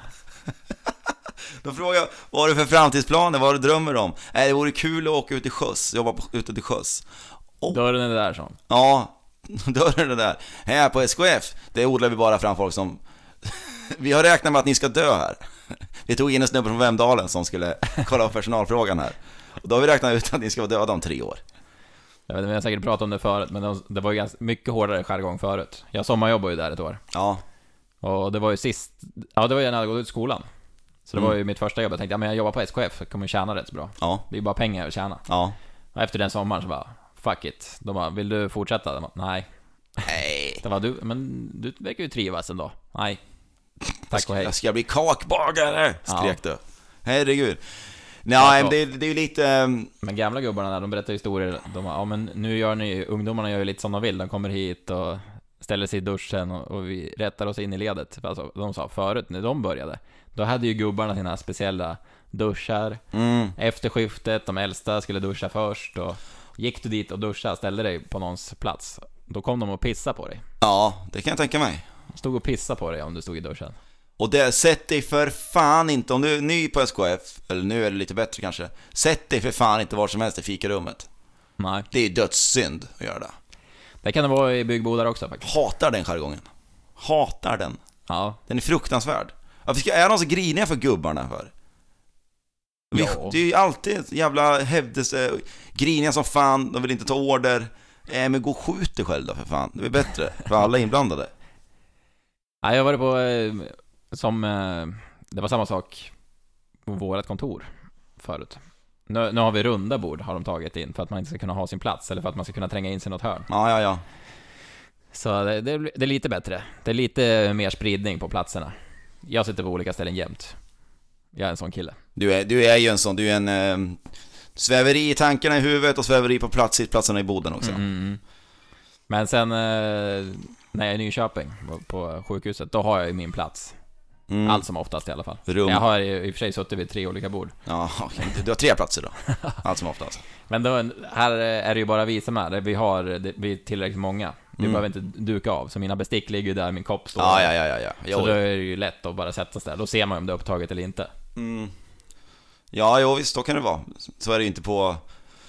Speaker 1: De frågar, vad har du för framtidsplaner? Vad har du drömmer om? Nej, det vore kul att åka ut till sjöss, jobba på, ute till sjöss.
Speaker 2: Dörren är där som.
Speaker 1: Ja, då är det där. Här på SKF, det odlar vi bara fram folk som... Vi har räknat med att ni ska dö här. Vi tog in en snubbe från Vemdalen som skulle kolla upp personalfrågan här. Och då har vi räknat ut att ni ska vara döda om tre år.
Speaker 2: Jag vet inte, vi har säkert pratat om det förut, men de- det var ju ganska mycket hårdare jargong förut. Jag sommarjobbade ju där ett år.
Speaker 1: Ja,
Speaker 2: Och det var ju sist, ja det var ju när jag hade gått ut skolan. Så
Speaker 1: Mm.
Speaker 2: det var ju mitt första jobb. Jag tänkte, ja men jag jobbar på SKF, jag kommer tjäna rätt så bra.
Speaker 1: ja,
Speaker 2: Det är ju bara pengar att tjäna.
Speaker 1: ja.
Speaker 2: Och efter den sommaren så bara, fuck it. De bara, vill du fortsätta? De bara, Nej.
Speaker 1: Nej.
Speaker 2: Det var du, men du verkar ju trivas ändå. Nej. Tack och hej.
Speaker 1: Jag ska bli kakbagare,
Speaker 2: Ja.
Speaker 1: skrek du. Herregud. Nej, men
Speaker 2: Tack
Speaker 1: det, det är ju lite... ehm,
Speaker 2: Men gamla gubbarna där, de berättar historier. De bara, ja men nu gör ni, ungdomarna gör ju lite som de vill. De kommer hit och ställer sig i duschen och, och vi rättar oss in i ledet. För Alltså, de sa förut, när de började, då hade ju gubbarna sina speciella duschar.
Speaker 1: Mm,
Speaker 2: Efter skiftet, de äldsta skulle duscha först och gick du dit och duscha, ställde dig på någons plats, då kom de och pissade på dig.
Speaker 1: ja, det kan jag tänka mig.
Speaker 2: Stod och pissade på dig om du stod i duschen.
Speaker 1: Och det, sätt dig för fan inte, om du är ny på SKF, eller nu är det lite bättre kanske, sätt dig för fan inte var som helst i fikarummet.
Speaker 2: Nej.
Speaker 1: Det är ju dödssynd att göra det.
Speaker 2: Det kan det vara i byggbodar också faktiskt.
Speaker 1: Hatar den jargongen. Hatar den.
Speaker 2: Ja.
Speaker 1: Den är fruktansvärd. Varför ska, är de så griniga för gubbarna för? Vi,
Speaker 2: Ja.
Speaker 1: Det är ju alltid ett jävla hävdelse, griniga som fan, de vill inte ta order. Äh, men gå och skjut dig själv då för fan, det är bättre för alla inblandade.
Speaker 2: Nej, jag var på, eh, som, eh, det var samma sak på vårt kontor förut. Nu, nu har vi runda bord, har de tagit in, för att man inte ska kunna ha sin plats, eller för att man ska kunna tränga in sig i något hörn.
Speaker 1: Ja, ja, ja.
Speaker 2: Så det, det, det är lite bättre. Det är lite mer spridning på platserna. Jag sitter på olika ställen jämt. Jag är en sån kille.
Speaker 1: Du är, du är ju en sån, du är en... Eh, sväveri i tankarna i huvudet och sväveri på plats, sittplatserna i boden också.
Speaker 2: Mm. Men sen eh, när jag är i Nyköping på- på sjukhuset, då har jag ju min plats.
Speaker 1: Mm.
Speaker 2: Allt som oftast i alla fall.
Speaker 1: Rum.
Speaker 2: Jag har ju i och för sig suttit vid tre olika bord.
Speaker 1: Ja, okej. Du- du har tre platser då, allt som oftast.
Speaker 2: Men då, här är det ju bara vi som är där. Vi har, det- vi är tillräckligt många. Vi behöver inte duka av, så mina bestick ligger ju där, min kopp står
Speaker 1: Ja,
Speaker 2: där.
Speaker 1: ja, ja, ja. ja.
Speaker 2: Så
Speaker 1: Jo,
Speaker 2: då är det ju lätt att bara sätta sig där. Då ser man ju om det är upptaget eller inte.
Speaker 1: Mm. Ja, jo, visst, så kan det vara. Så är det ju inte på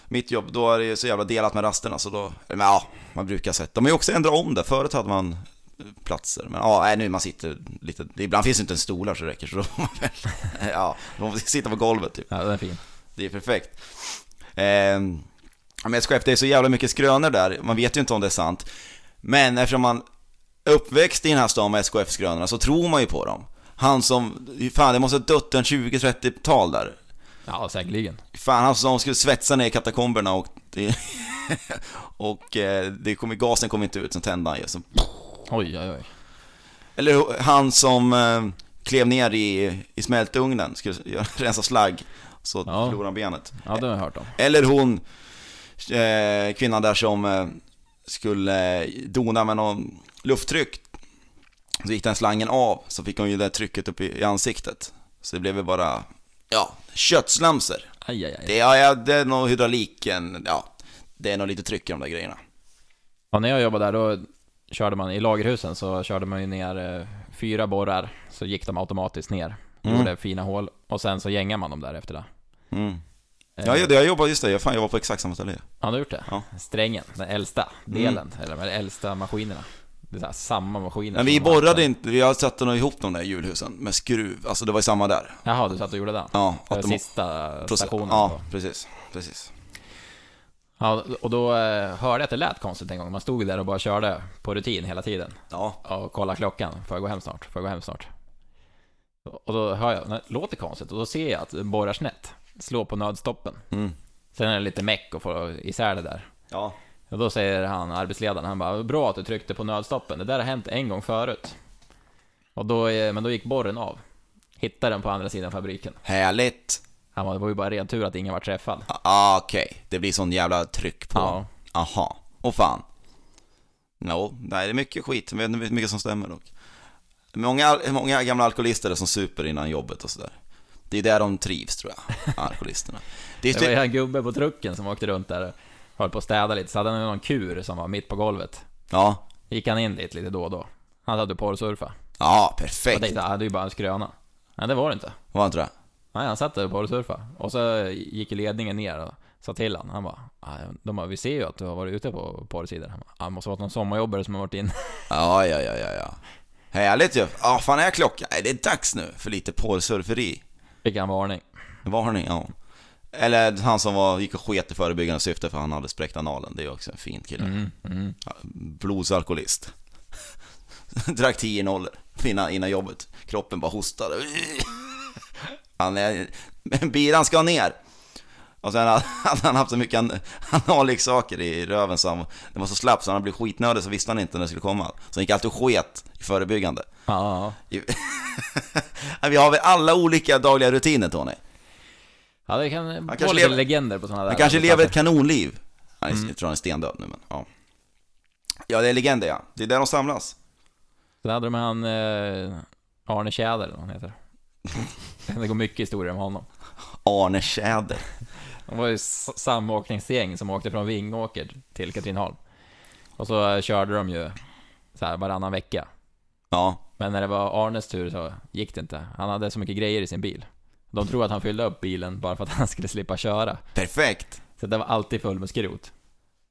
Speaker 1: mitt jobb, då är det ju så jävla delat med rasterna så då, men ja, man brukar sätta. De har ju också ändrat om det, förut hade man eh, platser, men ja, nej, nu man sitter lite, ibland finns det inte en stolar så det räcker så då får man väl, ja, man får sitta på golvet typ.
Speaker 2: Ja, den är fin.
Speaker 1: Det är perfekt. Ehm, men SKF, det är så jävla mycket skrönor där, man vet ju inte om det är sant. Men eftersom man är uppväxt i den här stan med SKF-skrönorna så tror man ju på dem. Han som, fan det måste ha dött en 20-30-tal där.
Speaker 2: Ja, säkerligen.
Speaker 1: Fan, han som skulle svetsa ner i katakomberna och... Det, och eh, det kom, gasen kom inte ut, sen tände han ju. Så-
Speaker 2: Oj, oj, oj.
Speaker 1: Eller han som eh, klev ner i, i smältugnen, skulle göra- rensa slagg, så
Speaker 2: Ja.
Speaker 1: förlorade han benet.
Speaker 2: Ja, det har jag hört om.
Speaker 1: Eller hon, eh, kvinnan där som eh, skulle dona med någon lufttryck. Så gick den slangen av, så fick hon ju det trycket upp i, i ansiktet. Så det blev ju bara, ja, köttslamser.
Speaker 2: Aj, aj, aj.
Speaker 1: Det, ja, ja, det är nog hydrauliken, ja. Det är nog lite tryck i de där grejerna.
Speaker 2: Och när jag jobbade där, då körde man, i lagerhusen så körde man ju ner eh, fyra borrar, så gick de automatiskt ner. Gjorde fina hål, och sen så gängade man dem där efter det.
Speaker 1: Mm.
Speaker 2: Eh,
Speaker 1: Ja, jag, jag jobbar, just det, jag, fan, jag var på exakt samma ställe.
Speaker 2: Har du gjort det?
Speaker 1: Ja. Mm.
Speaker 2: Strängen, den äldsta delen, eller de äldsta maskinerna. Det är så här, samma maskiner.
Speaker 1: Men
Speaker 2: som
Speaker 1: vi
Speaker 2: de här.
Speaker 1: borrade inte, vi har satt nog ihop de där julhusen med skruv, alltså det var ju samma där.
Speaker 2: Jaha, du satt och gjorde den?
Speaker 1: Ja,
Speaker 2: Det var
Speaker 1: att de...
Speaker 2: sista
Speaker 1: proce-
Speaker 2: stationen?
Speaker 1: Ja,
Speaker 2: då.
Speaker 1: precis, precis.
Speaker 2: ja. Och då eh, hörde jag att det lät konstigt en gång. Man stod där och bara körde på rutin hela tiden.
Speaker 1: Ja,
Speaker 2: och kolla klockan. Får jag gå hem snart? Får jag gå hem snart? Och då hör jag, det låter konstigt, och då ser jag att den borrar snett. Slår på nödstoppen.
Speaker 1: mm.
Speaker 2: Sen är det lite meck och få isär det där.
Speaker 1: ja.
Speaker 2: Och då säger han, arbetsledaren, han bara “Bra att du tryckte på nödstoppen, det där har hänt en gång förut”. Och då, eh, men då gick borren av. Hittade den på andra sidan fabriken.
Speaker 1: Härligt.
Speaker 2: Han bara, det var ju bara ren tur att ingen var träffad.
Speaker 1: Ah, Okej, det blir sån jävla tryck på.
Speaker 2: Ja.
Speaker 1: Aha, och fan. No, nej, det är mycket skit, men det är mycket som stämmer dock. Många, många gamla alkoholister är som super innan jobbet och sådär. Det är där de trivs tror jag, alkoholisterna. Det är
Speaker 2: Det var ju
Speaker 1: typ...
Speaker 2: en gubbe på trucken som åkte runt där och höll på att städa lite, så hade han någon kur som var mitt på golvet.
Speaker 1: Ja,
Speaker 2: gick han in dit lite då och då. Han hade porrsurfa.
Speaker 1: ja
Speaker 2: Jag
Speaker 1: perfekt.
Speaker 2: tänkte, ah, det är ju bara en skröna. Men det var det inte.
Speaker 1: Var inte det?
Speaker 2: Nej, han satt där och porrsurfade. Och så gick ledningen ner och sa till han. Han bara, ah, de bara, vi ser ju att du har varit ute på porrsidor. Han bara, ah, det måste ha varit någon sommarjobbare som har varit in.
Speaker 1: Ja, ja, ja, ja, ja. Härligt ju. Ja, fan är klockan? Nej, det är dags nu för lite porrsurferi.
Speaker 2: Fick han varning.
Speaker 1: Varning, ja. Eller han som var, gick och sket i förebyggande syfte för han hade spräckt analen. Det är ju också en fin kille.
Speaker 2: Mm, mm.
Speaker 1: Blodsalkoholist. Drack 10 nollor innan, innan jobbet. Kroppen bara hostade. Han är... Men biran ska ner! Och sen hade hade han haft så mycket an- analleksaker i röven så han, den var så slapp så han blev skitnödig så visste han inte när det skulle komma. Så han gick alltid och sket i förebyggande.
Speaker 2: Ja, ja.
Speaker 1: Ju- Vi har väl alla olika dagliga rutiner Tony.
Speaker 2: ja, det kan vara
Speaker 1: kanske
Speaker 2: lite
Speaker 1: lever-
Speaker 2: legender på sådana där.
Speaker 1: Han kanske
Speaker 2: arbetsplatser.
Speaker 1: lever ett kanonliv. Han är, Jag tror han är stendöd nu men ja. Ja det är legender ja, det är där de samlas.
Speaker 2: Sen hade de han eh, Arne Tjäder, eller vad han heter. Det går mycket historier om honom.
Speaker 1: Arne Tjäder.
Speaker 2: Det var ju s- samåkningsgäng som åkte från Vingåker till Katrineholm. Och så eh, körde de ju så här varannan vecka.
Speaker 1: Ja,
Speaker 2: Men när det var Arnes tur så gick det inte. Han hade så mycket grejer i sin bil. De tror att han fyllde upp bilen bara för att han skulle slippa köra.
Speaker 1: perfekt.
Speaker 2: Så den var alltid full med skrot.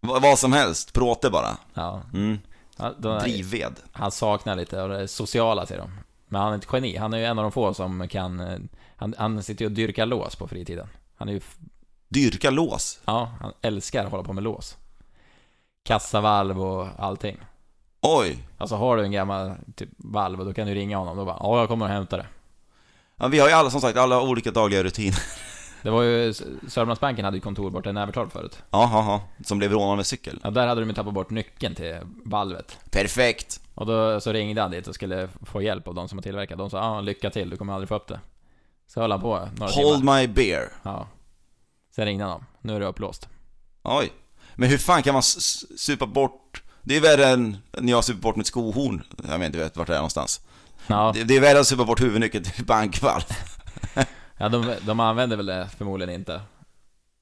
Speaker 1: V- vad som helst, pråte bara.
Speaker 2: Ja.
Speaker 1: Mm.
Speaker 2: Ja, de-
Speaker 1: Drivved.
Speaker 2: Han saknar lite av det sociala till dem. Men han är ett geni. Han är ju en av de få som kan... eh, Han, han sitter ju och dyrkar lås på fritiden. Han är ju f-
Speaker 1: Dyrka lås.
Speaker 2: Ja, han älskar att hålla på med lås. Kassavalv och allting.
Speaker 1: Oj.
Speaker 2: Alltså har du en gammal typ valv, då kan du ringa honom. Då bara ja, jag kommer och hämtar det.
Speaker 1: Ja, vi har ju alla, som sagt, alla olika dagliga rutiner.
Speaker 2: Det var ju, Sörmlandsbanken hade ju kontor borta i Nävertorp förut.
Speaker 1: Ja, ja, ja. Som blev rånad med cykel.
Speaker 2: Ja, där hade de ju tappat bort nyckeln till valvet.
Speaker 1: Perfekt.
Speaker 2: Och då så ringde han dit och skulle få hjälp av de som har tillverkat. De sa ja, lycka till, du kommer aldrig få upp det. Så höll han på några
Speaker 1: Hold
Speaker 2: timmar.
Speaker 1: my beer.
Speaker 2: Ja. Sen ringde han dem. Nu är det upplåst.
Speaker 1: Oj. Men hur fan kan man s- s- supa bort... Det är värre än när jag super bort mitt skohorn. Jag vet inte vet vart det är någonstans.
Speaker 2: Ja,
Speaker 1: Det, det är värre att supa bort huvudnyckeln till bankvalv.
Speaker 2: ja de, de använder väl det förmodligen inte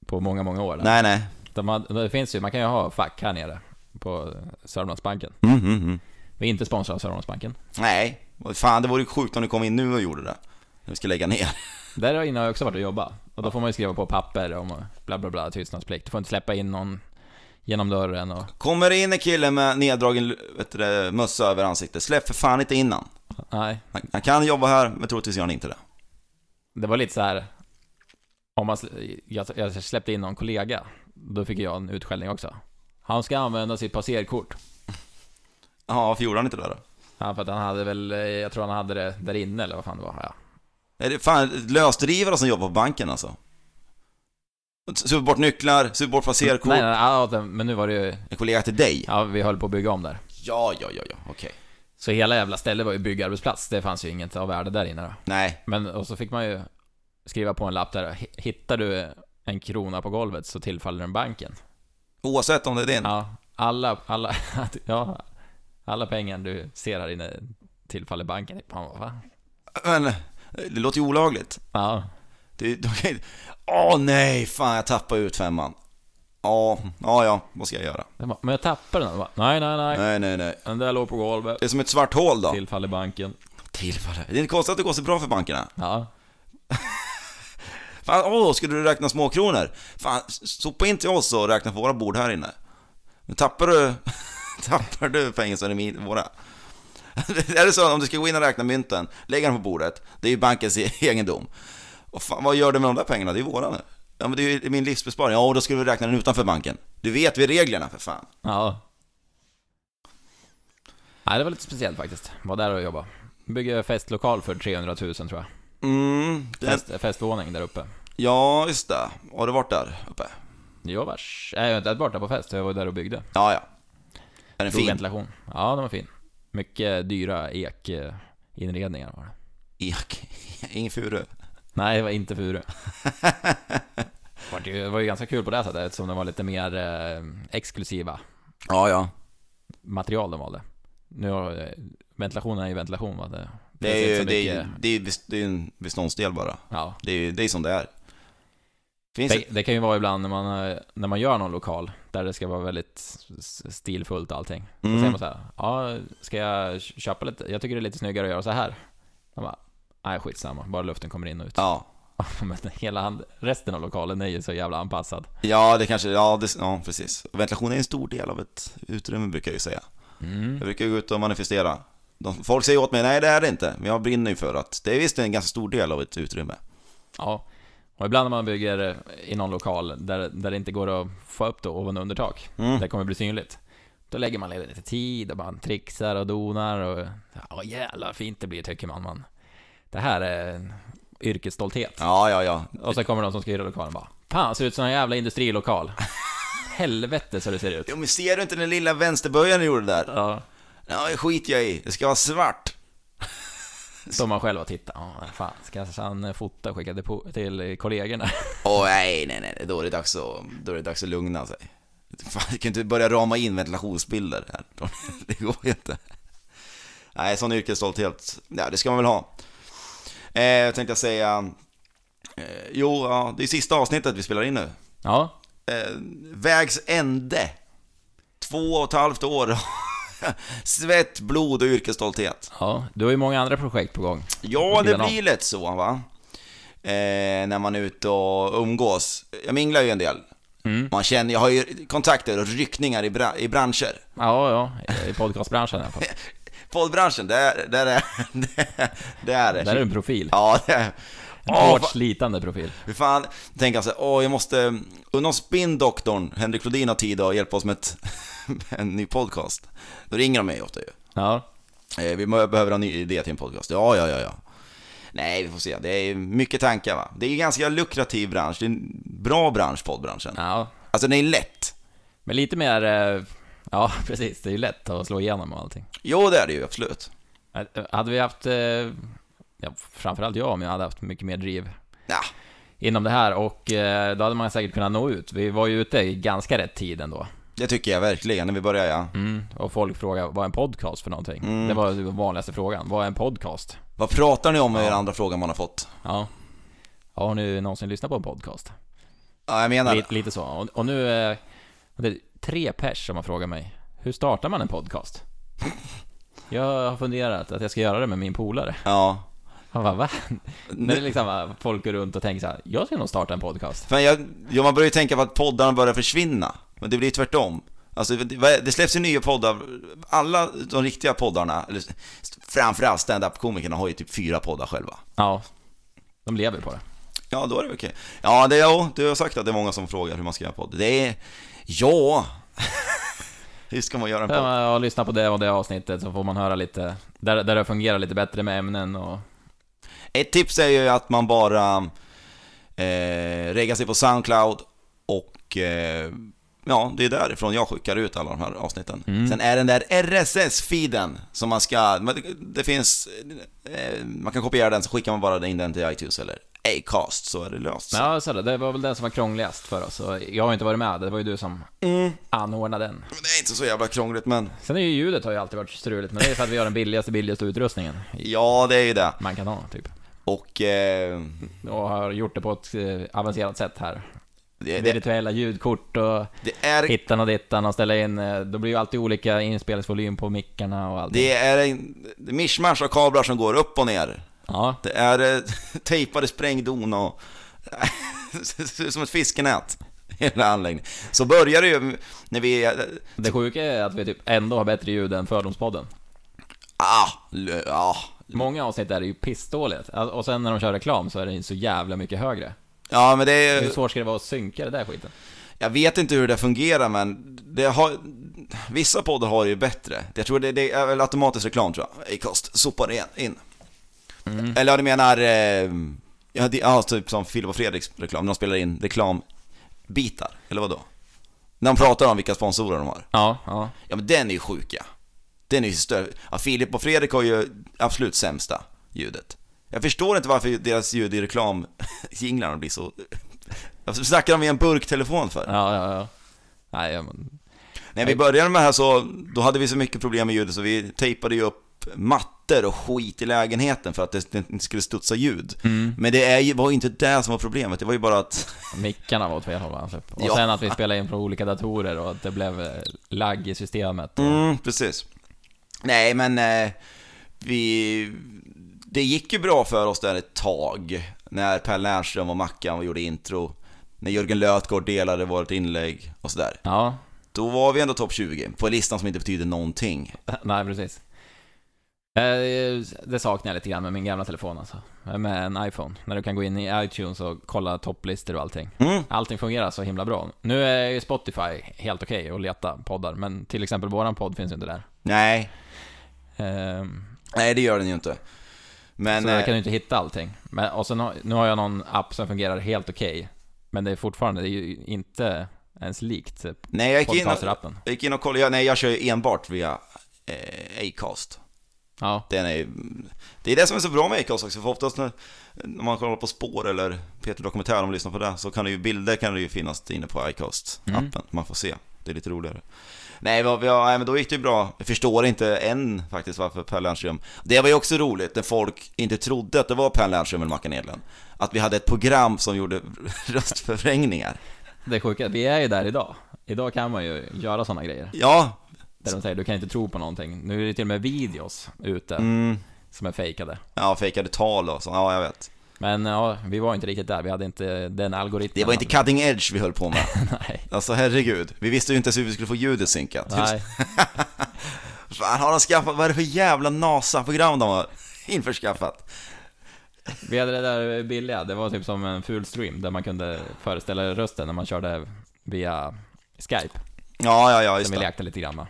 Speaker 2: på många, många år.
Speaker 1: Nej, nej.
Speaker 2: De har, det finns ju, man kan ju ha fack här nere på Sörmlandsbanken.
Speaker 1: Mm, mm, mm.
Speaker 2: Vi är inte sponsrade av Sörmlandsbanken.
Speaker 1: Nej. Vad Fan, det vore ju sjukt om du kom in nu och gjorde det. När vi ska lägga ner.
Speaker 2: Där inne har jag också varit och jobbat. Och då får man ju skriva på papper om bla bla bla, tystnadsplikt. Du får inte släppa in någon genom dörren och...
Speaker 1: Kommer det in en kille med neddragen vet du, det, mössa över ansiktet, släpp för fan inte innan.
Speaker 2: Nej.
Speaker 1: Han, han kan jobba här, men troligtvis gör han inte det.
Speaker 2: Det var lite så här. Om man, slä- jag, jag släppte in någon kollega. Då fick jag en utskällning också. Han ska använda sitt passerkort.
Speaker 1: Ja, varför gjorde han inte det då?
Speaker 2: Ja, för att han hade väl, eh, jag tror han hade det där inne eller vad fan det var. Ja.
Speaker 1: Är det fan lösdrivare som jobbar på banken alltså? Super bort nycklar, super bort passerkort.
Speaker 2: Nej, nej, nej, ja, men nu var det ju,
Speaker 1: En kollega till dig?
Speaker 2: ja vi höll på att bygga om där.
Speaker 1: Ja, ja, ja, ja, okej.
Speaker 2: Så hela jävla stället var ju byggarbetsplats. Det fanns ju inget av värde där inne då.
Speaker 1: Nej,
Speaker 2: Men, och så fick man ju skriva på en lapp där, "Hi- hittar du en krona på golvet så tillfaller den banken.
Speaker 1: oavsett om det är din.
Speaker 2: Ja, alla, alla, ja, alla pengar du ser här inne tillfaller banken. Han bara, va?
Speaker 1: Men, det låter ju olagligt.
Speaker 2: Ja,
Speaker 1: Det- de kan inte- Åh nej, fan jag tappade ut femman. Ja, ja, ja, vad ska jag göra?
Speaker 2: Jag bara, men jag tappade den. Jag Bara, nej, nej, nej,
Speaker 1: Nej, nej, nej.
Speaker 2: Den där låg på golvet.
Speaker 1: Det är som ett svart hål då.
Speaker 2: Tillfaller banken.
Speaker 1: Tillfälle. Det är inte konstigt att det går så bra för bankerna.
Speaker 2: Ja,
Speaker 1: Fan, åh, skulle du räkna småkronor? Fan, sopa in till oss och räkna på våra bord här inne. Men tappar du, tappar du pengar så är det min- våra. är det så om du ska gå in och räkna mynten, lägga dem på bordet. Det är ju bankens e- egendom. Och fan, vad gör du med de där pengarna? Det är ju våra nu. Ja, men det är ju min livsbesparing. Ja, och då skulle vi räkna den utanför banken. Du vet vi reglerna för fan.
Speaker 2: Ja. Nej, det var lite speciellt faktiskt. Var där och jobba. Bygger festlokal för 300 000 tror jag.
Speaker 1: Mm, det,
Speaker 2: Fest, festvåning där uppe.
Speaker 1: Ja, just det. Har du varit där uppe?
Speaker 2: Jag var... Nej, jag har inte varit där på fest. Jag var där och byggde.
Speaker 1: Ja, ja. Är den
Speaker 2: Stor
Speaker 1: fin?
Speaker 2: ventilation. Ja, den var fin. Mycket dyra ekinredningar var det.
Speaker 1: Ek. Ingen furu.
Speaker 2: Nej, det var inte furu. Det var ju- det var ju ganska kul på det sättet eftersom de var lite mer eh, exklusiva
Speaker 1: Ja, ja.
Speaker 2: material de valde. Nu har, eh, ventilationen är ju ventilation va? Det,
Speaker 1: Det är
Speaker 2: finns
Speaker 1: ju
Speaker 2: inte
Speaker 1: det
Speaker 2: så
Speaker 1: är, ju-
Speaker 2: mycket-
Speaker 1: det är, ju bes- det är ju en beståndsdel bara.
Speaker 2: Ja.
Speaker 1: Det är, ju- det är som det är. Finns
Speaker 2: Det,
Speaker 1: det?
Speaker 2: det kan ju vara ibland när man, eh, när man gör någon lokal där det ska vara väldigt s- stilfullt allting. Så
Speaker 1: Mm.
Speaker 2: säger man så här, ja, ska jag köpa lite? Jag tycker det är lite snyggare att göra så här. De bara, nej skitsamma, bara luften kommer in och ut.
Speaker 1: Ja.
Speaker 2: Men hela hand, resten av lokalen är ju så jävla anpassad.
Speaker 1: Ja, det kanske, ja, det, ja precis. Ventilation är en stor del av ett utrymme brukar jag ju säga.
Speaker 2: Mm.
Speaker 1: Jag brukar ju gå ut och manifestera. De, folk säger åt mig, nej det är det inte. Men jag brinner ju för att det är visst en ganska stor del av ett utrymme.
Speaker 2: Ja. Och ibland när man bygger eh, i någon lokal där, där det inte går att få upp då ovan och under tak,
Speaker 1: Mm.
Speaker 2: det kommer bli synligt. Då lägger man ner lite tid och man trixar och donar och ja jävlar fint det blir tycker man. man det här är en yrkesstolthet.
Speaker 1: Ja, ja, ja.
Speaker 2: Och så kommer de som ska hyra lokalen bara Fan, ser ut som en jävla industrilokal. Helvete så det ser ut.
Speaker 1: Jo, men ser du inte den lilla vänsterböjan du gjorde där?
Speaker 2: Ja.
Speaker 1: Ja, det skiter jag i. Det ska vara svart.
Speaker 2: Står man själv och tittar. Ja, fan, ska han fota och skicka till po- till kollegorna?
Speaker 1: Åh nej, nej, nej, då är det dags att, då är det dags att lugna sig. Fan, jag kan inte börja rama in ventilationsbilder här. Det går ju inte. Nej, sån yrkesstolthet, ja det ska man väl ha. Eh, jag tänkte jag säga, eh, jo, ja, det är sista avsnittet vi spelar in nu.
Speaker 2: Ja,
Speaker 1: Eh, vägs ände. Två och ett halvt år. Svett, blod och yrkesstolthet.
Speaker 2: ja. Du har ju många andra projekt på gång.
Speaker 1: Ja, det
Speaker 2: sidan av.
Speaker 1: blir lätt så va. Eh, när man är ute och umgås. Jag minglar ju en del.
Speaker 2: Mm.
Speaker 1: Man känner, jag har ju kontakter och ryckningar i, bra, i branscher.
Speaker 2: Ja, ja. I podcastbranschen i alla fall.
Speaker 1: Poddbranschen, där, där är där, där
Speaker 2: Där är du en profil.
Speaker 1: Ja, det är...
Speaker 2: En
Speaker 1: Åh,
Speaker 2: hårt
Speaker 1: fan.
Speaker 2: slitande profil.
Speaker 1: Hur fan, tänker jag så här, åh jag måste, undra om spindoktorn, Henrik Flodin har tid att hjälpa oss med ett, en ny podcast. Då ringer de mig ofta ju.
Speaker 2: Ja.
Speaker 1: Eh, Vi må- behöver en ny idé till en podcast. Ja, ja, ja, ja. Nej, vi får se. Det är mycket tankar va. Det är en ganska lukrativ bransch. Det är en bra bransch, poddbranschen.
Speaker 2: ja.
Speaker 1: Alltså den är lätt.
Speaker 2: Men lite mer... eh, Ja, precis. Det är ju lätt att slå igenom och allting.
Speaker 1: Jo, det är det ju absolut.
Speaker 2: Eh, Hade vi haft... eh, Ja, framförallt jag, om jag hade haft mycket mer driv
Speaker 1: Ja,
Speaker 2: inom det här och eh, då hade man säkert kunnat nå ut. Vi var ju ute i ganska rätt tid ändå.
Speaker 1: det tycker jag verkligen när vi börjar ja.
Speaker 2: Mm. Och folk frågade, vad är en podcast för någonting? Det var den vanligaste frågan. Vad är en podcast?
Speaker 1: Vad pratar ni om är den andra frågan man har fått?
Speaker 2: Ja. Har ni någonsin lyssnat på en podcast?
Speaker 1: Ja, jag menar
Speaker 2: Lite, lite så. Och, och nu är det är tre pers som har frågat mig. Hur startar man en podcast? Jag har funderat att jag ska göra det med min polare.
Speaker 1: Ja.
Speaker 2: Han bara, va? När det liksom bara, folk går runt och tänker så här, jag ska nog starta en podcast.
Speaker 1: Fan, jag, ja, man börjar ju tänka på att poddarna börjar försvinna. Men det blir ju tvärtom. Alltså, det det släpps ju nya poddar. Alla de riktiga poddarna, eller framförallt stand-up-komikerna, har ju typ fyra poddar själva.
Speaker 2: Ja. De lever på det.
Speaker 1: Ja, då är det väl okej. Ja, det, ja, du har sagt att det är många som frågar hur man ska göra podd. Det är... Ja! hur ska man göra en
Speaker 2: Ja,
Speaker 1: podd?
Speaker 2: man har lyssnat på det och det avsnittet så får man höra lite, där, där det fungerar lite bättre med ämnen och...
Speaker 1: Ett tips är ju att man bara eh, reggar sig på Soundcloud och eh, ja, det är därifrån jag skickar ut alla de här avsnitten.
Speaker 2: Mm.
Speaker 1: Sen är den där RSS-feeden som man ska... men det- Det finns... Eh, man kan kopiera den, så skickar man bara in den till iTunes eller Acast, så är det löst.
Speaker 2: Men ja, så det, det var väl den som var krångligast för oss och jag har ju inte varit med, det var ju du som anordnade den.
Speaker 1: Men Det är inte så jävla krångligt, men...
Speaker 2: Sen är ju ljudet har ju alltid varit struligt, men det är för att vi har den billigaste, billigaste utrustningen i-
Speaker 1: Ja, det är ju det.
Speaker 2: man kan ha, typ.
Speaker 1: Och... Eh,
Speaker 2: Och har gjort det på ett eh, avancerat sätt här.
Speaker 1: Eh, det, det,
Speaker 2: Virtuella ljudkort och
Speaker 1: Det är,
Speaker 2: hittan och dittan och ställa in, eh, då blir ju alltid olika inspelningsvolym på mickarna och allt.
Speaker 1: det är en det är mischmasch av kablar som går upp och ner.
Speaker 2: Ja,
Speaker 1: Det är eh, tejpade sprängdon och Det ser ut som ett fiskenät. Hela anläggningen. Så börjar det ju när vi...
Speaker 2: Det sjuka är att vi typ ändå har bättre ljud än Fördomspodden.
Speaker 1: Ah, l- ah.
Speaker 2: Många avsnitt är det ju pissdåligt. Alltså, Och sen när de kör reklam så är det ju så jävla mycket högre.
Speaker 1: Ja, men det är...
Speaker 2: Hur svårt ska det vara att synka det där skiten?
Speaker 1: Jag vet inte hur det fungerar men det har, vissa poddar har det ju bättre. Jag tror det, det är väl automatisk reklam tror jag, Acast sopar igen- in. Eller ja, du menar, eh, ja, det, ja typ som Filip och Fredriks reklam, de spelar in reklambitar, eller vad då? När de pratar om vilka sponsorer de har.
Speaker 2: Ja, ja.
Speaker 1: Ja men den är ju sjuk ja. Den är ju större. Ja, Filip och Fredrik har ju absolut sämsta ljudet. Jag förstår inte varför deras ljud i reklamjinglarna blir så... Varför snackar de i en burktelefon för?
Speaker 2: Ja, ja, ja. Nej, ja, men...
Speaker 1: När vi började med det här så, då hade vi så mycket problem med ljudet så vi tejpade ju upp mattor och skit i lägenheten för att det det inte skulle studsa ljud. Men det är ju, var ju inte det som var problemet, det var ju bara att...
Speaker 2: Mickarna var åt fel håll va? typ. Och
Speaker 1: Ja.
Speaker 2: sen att vi spelade in från olika datorer och att det blev eh, lagg i systemet.
Speaker 1: Mm, precis. Nej men, eh, vi... Det gick ju bra för oss där ett tag, när Per Lernström och Mackan gjorde intro, när Jörgen Lötgård delade vårt inlägg och sådär.
Speaker 2: Ja,
Speaker 1: Då var vi ändå topp 20, på listan som inte betyder någonting.
Speaker 2: nej precis. Eh, Det saknar jag lite grann med min gamla telefon alltså. Med en iPhone. När du kan gå in i iTunes och kolla topplistor och allting.
Speaker 1: Mm.
Speaker 2: Allting fungerar så himla bra. Nu är ju Spotify helt okej att leta poddar, men till exempel våran podd finns ju inte där.
Speaker 1: Nej,
Speaker 2: Ehm,
Speaker 1: Nej, det gör den ju inte. Men...
Speaker 2: så där
Speaker 1: eh,
Speaker 2: kan du inte hitta allting. Men, och sen har, nu har jag någon app som fungerar helt okej. Men det är fortfarande, det är ju inte ens likt eh,
Speaker 1: Nej, jag gick in, och,
Speaker 2: podcasterappen.
Speaker 1: jag gick in och kollade. Ja, nej, jag kör ju enbart via eh, Acast.
Speaker 2: Ja,
Speaker 1: Den är, ju- det är det som är så bra med Acast också, för oftast när, när man kollar på spår eller Peter Dokumentär, om man lyssnar på det, så kan det ju, bilder kan det ju finnas inne på Acast-appen. Man får se. Det är lite roligare. Nej, vad, vi har- nej, men då gick det ju bra. Jag förstår inte än faktiskt varför Per Lernström... Det var ju också roligt när folk inte trodde att det var Per Lernström eller Mackan Edlund. Att vi hade ett program som gjorde röstförvrängningar.
Speaker 2: det sjuka är att vi är ju där idag. Idag kan man ju göra sådana grejer.
Speaker 1: Ja,
Speaker 2: Där de säger du kan inte tro på någonting. Nu är det till och med videos ute som är fejkade.
Speaker 1: Ja, fejkade tal och så. Ja, jag vet.
Speaker 2: Men ja, vi var inte riktigt där. Vi hade inte den algoritmen.
Speaker 1: Det var inte cutting edge vi höll på med.
Speaker 2: Nej.
Speaker 1: Alltså herregud, vi visste ju inte ens hur vi skulle få ljudet synkat.
Speaker 2: Nej.
Speaker 1: Fan, har de skaffat, vad är det för jävla NASA-program de har införskaffat?
Speaker 2: Vi hade det där billiga, det var typ som en full stream där man kunde föreställa rösten när man körde via Skype.
Speaker 1: Ja, ja, ja, just
Speaker 2: Som vi
Speaker 1: det.
Speaker 2: lekte lite grann med.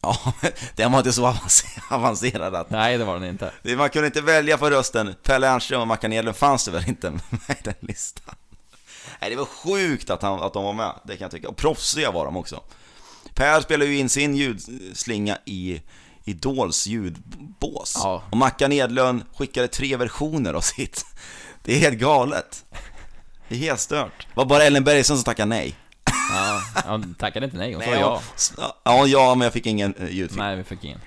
Speaker 1: Ja, den var inte så avance- avancerad att...
Speaker 2: Nej, det var den inte.
Speaker 1: det- Man kunde inte välja på rösten, Per Lernström och Mackan Edlund fanns det väl inte med i den listan? Nej, det var sjukt att, han, att de var med, det kan jag tycka. Och proffsiga var de också. Per spelade ju in sin ljudslinga i Idols ljudbås.
Speaker 2: Ja.
Speaker 1: Och Mackan Edlund skickade tre versioner av sitt. Det är helt galet. Det är helt stört. Det var bara Ellen Bergström som tackade nej.
Speaker 2: Ja, hon tackade inte nej, hon sa
Speaker 1: Nej,
Speaker 2: ja.
Speaker 1: ja. Ja, ja, men jag fick ingen eh, ljudfil.
Speaker 2: Nej, vi fick ingen.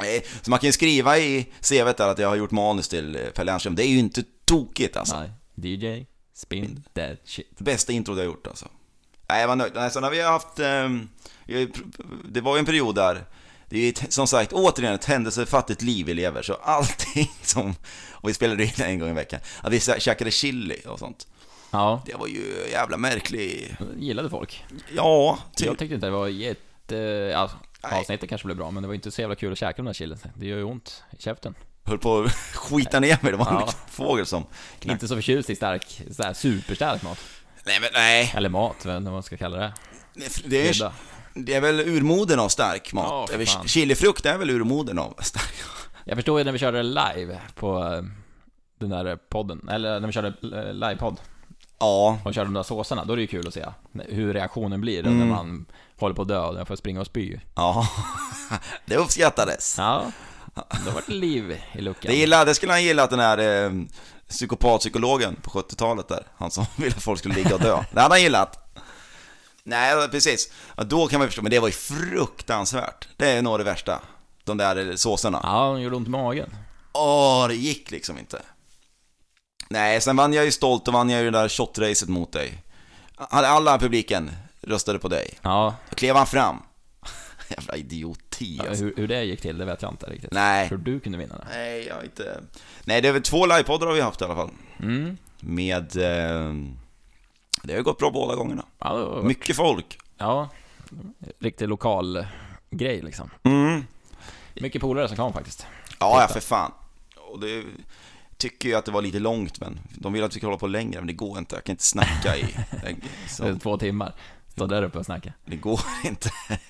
Speaker 1: Nej, Eh, Så man kan ju skriva i CVt där att jag har gjort manus till eh, Per Lernström. Det är ju inte tokigt alltså.
Speaker 2: Nej. DJ, spin that shit.
Speaker 1: Bästa intro jag har gjort alltså. Nej, jag var nöjd. Nej, sen har vi haft... ehm, vi har ju pr- det var ju en period där, det är ju ett- som sagt återigen ett händelsefattigt liv vi lever, så allting som... Och vi spelade in en gång i veckan. Att vi sä- käkade chili och sånt.
Speaker 2: Ja,
Speaker 1: Det var ju jävla märklig...
Speaker 2: gillade folk.
Speaker 1: Ja,
Speaker 2: Jag
Speaker 1: typ.
Speaker 2: tyckte inte det var jätte... Ja,
Speaker 1: Nej.
Speaker 2: avsnittet kanske blev bra, men det var inte så jävla kul att käka de där chillen. Det gör ju ont i käften.
Speaker 1: Höll på att skita ner mig, det var en
Speaker 2: Ja.
Speaker 1: fågel som... Knack.
Speaker 2: Inte så förtjust i stark, så här superstark mat.
Speaker 1: Nej men nej,
Speaker 2: Eller mat, vad man ska kalla det.
Speaker 1: det är,
Speaker 2: Middag.
Speaker 1: det är väl urmoden av stark
Speaker 2: Ja,
Speaker 1: mat.
Speaker 2: för
Speaker 1: Eller
Speaker 2: fan.
Speaker 1: Chilifrukt är väl urmoden av stark
Speaker 2: Jag förstår ju när vi körde live på eh, den där podden, eller när vi körde eh, livepodd
Speaker 1: Ja,
Speaker 2: och körde de där såserna, då är det ju kul att se hur reaktionen blir
Speaker 1: Mm.
Speaker 2: när man håller på att dö och den får springa och spy.
Speaker 1: ja. Det uppskattades.
Speaker 2: Ja, då var det liv i luckan.
Speaker 1: Det, gillar, det skulle han gilla att den här eh, psykopatpsykologen på 70-talet där, han som ville att folk skulle ligga och dö. Det hade han gillat. Nej, precis. Ja, Då kan man förstå, men det var ju fruktansvärt. Det är nog det värsta. De där eh, såserna.
Speaker 2: Ja, hon gjorde ont i magen.
Speaker 1: Åh, det gick liksom inte. Nej, sen vann jag ju stolt, och vann jag ju det där shotracet mot dig. Alla- Alla i publiken röstade på dig.
Speaker 2: Ja,
Speaker 1: Då klev han fram. Jävla idioti alltså.
Speaker 2: hur, hur det gick till, det vet jag inte riktigt.
Speaker 1: Nej.
Speaker 2: Hur du kunde vinna det.
Speaker 1: Nej, jag har inte... Nej, det är väl två livepoddar har vi haft i alla fall.
Speaker 2: Mm.
Speaker 1: med... Eh, det har ju gått bra båda gångerna.
Speaker 2: Ja, det var-
Speaker 1: Mycket folk.
Speaker 2: ja riktig lokal grej liksom.
Speaker 1: Mm.
Speaker 2: Mycket polare som kom faktiskt.
Speaker 1: Ja, ja, för fan. Och det tycker ju att det var lite långt, men de vill att vi ska hålla på längre, men det går inte. Jag kan inte snacka i...
Speaker 2: Det är
Speaker 1: Så,
Speaker 2: Två timmar. Stå där uppe och snacka.
Speaker 1: det går inte.
Speaker 2: Nej.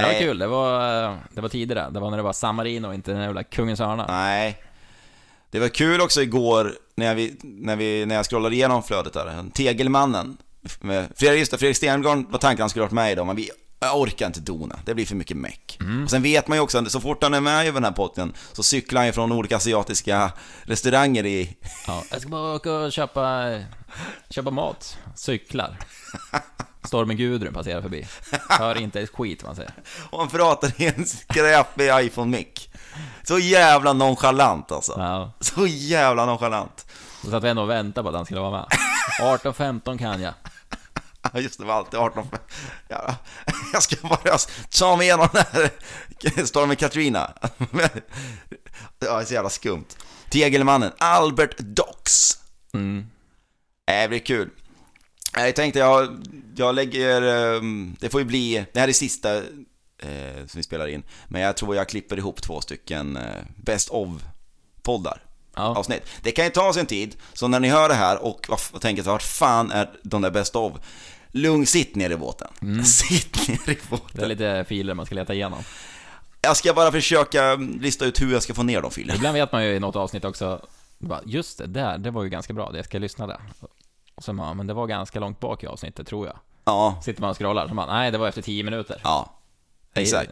Speaker 2: Det var kul, det var, eh, det var tidigare. Det var när det var San Marino och inte den där jävla Kungens Hörna.
Speaker 1: Ah. Nej. Det var kul också igår när, vi, när, vi, när jag scrollade igenom flödet där. Tegelmannen. Med Fredrik, just det, Fredrik Stengården var tanken han skulle varit med idag, men vi jag orkar inte dona. Det blir för mycket meck.
Speaker 2: Mm.
Speaker 1: Och sen vet man ju också att så fort han är med i den här potten så cyklar han ju från olika asiatiska restauranger i...
Speaker 2: Ja, jag ska bara åka och köpa, köpa mat, cyklar. Stormen Gudrun passerar förbi. Hör inte ett skit man säger.
Speaker 1: Och han pratar i en skräpig iPhone-mick. Så jävla nonchalant alltså.
Speaker 2: Ja,
Speaker 1: Så jävla nonchalant.
Speaker 2: så satt vi ändå och väntade på att han skulle vara med. 18.15 kan jag.
Speaker 1: Ja, Just det, var alltid 18 ja, Jag ska bara ta mig igenom den här stormen Katrina. Ja, det är så jävla skumt. Tegelmannen, Albert Dox.
Speaker 2: Mm.
Speaker 1: Äh, Det blir kul. Äh, Jag tänkte, jag, jag lägger, ehm, det får ju bli, det här är sista eh, som vi spelar in. Men jag tror jag klipper ihop två stycken eh, Best of-poddar
Speaker 2: Ja,
Speaker 1: avsnitt. Det kan ju ta sin tid, så när ni hör det här och, och tänker vart fan är de där bästa av? Lugn, sitt ner i båten.
Speaker 2: Mm.
Speaker 1: Sitt ner i
Speaker 2: det är
Speaker 1: båten.
Speaker 2: lite filer man ska leta igenom.
Speaker 1: Jag ska bara försöka mm, lista ut hur jag ska få ner de filerna.
Speaker 2: Ibland vet man ju i något avsnitt också, bara, just det där, det var ju ganska bra, det jag ska lyssna där. Och så man, men det var ganska långt bak i avsnittet tror jag.
Speaker 1: Ja,
Speaker 2: Sitter man och scrollar, så man, nej det var efter 10 minuter.
Speaker 1: ja.
Speaker 2: Det är-
Speaker 1: Exakt.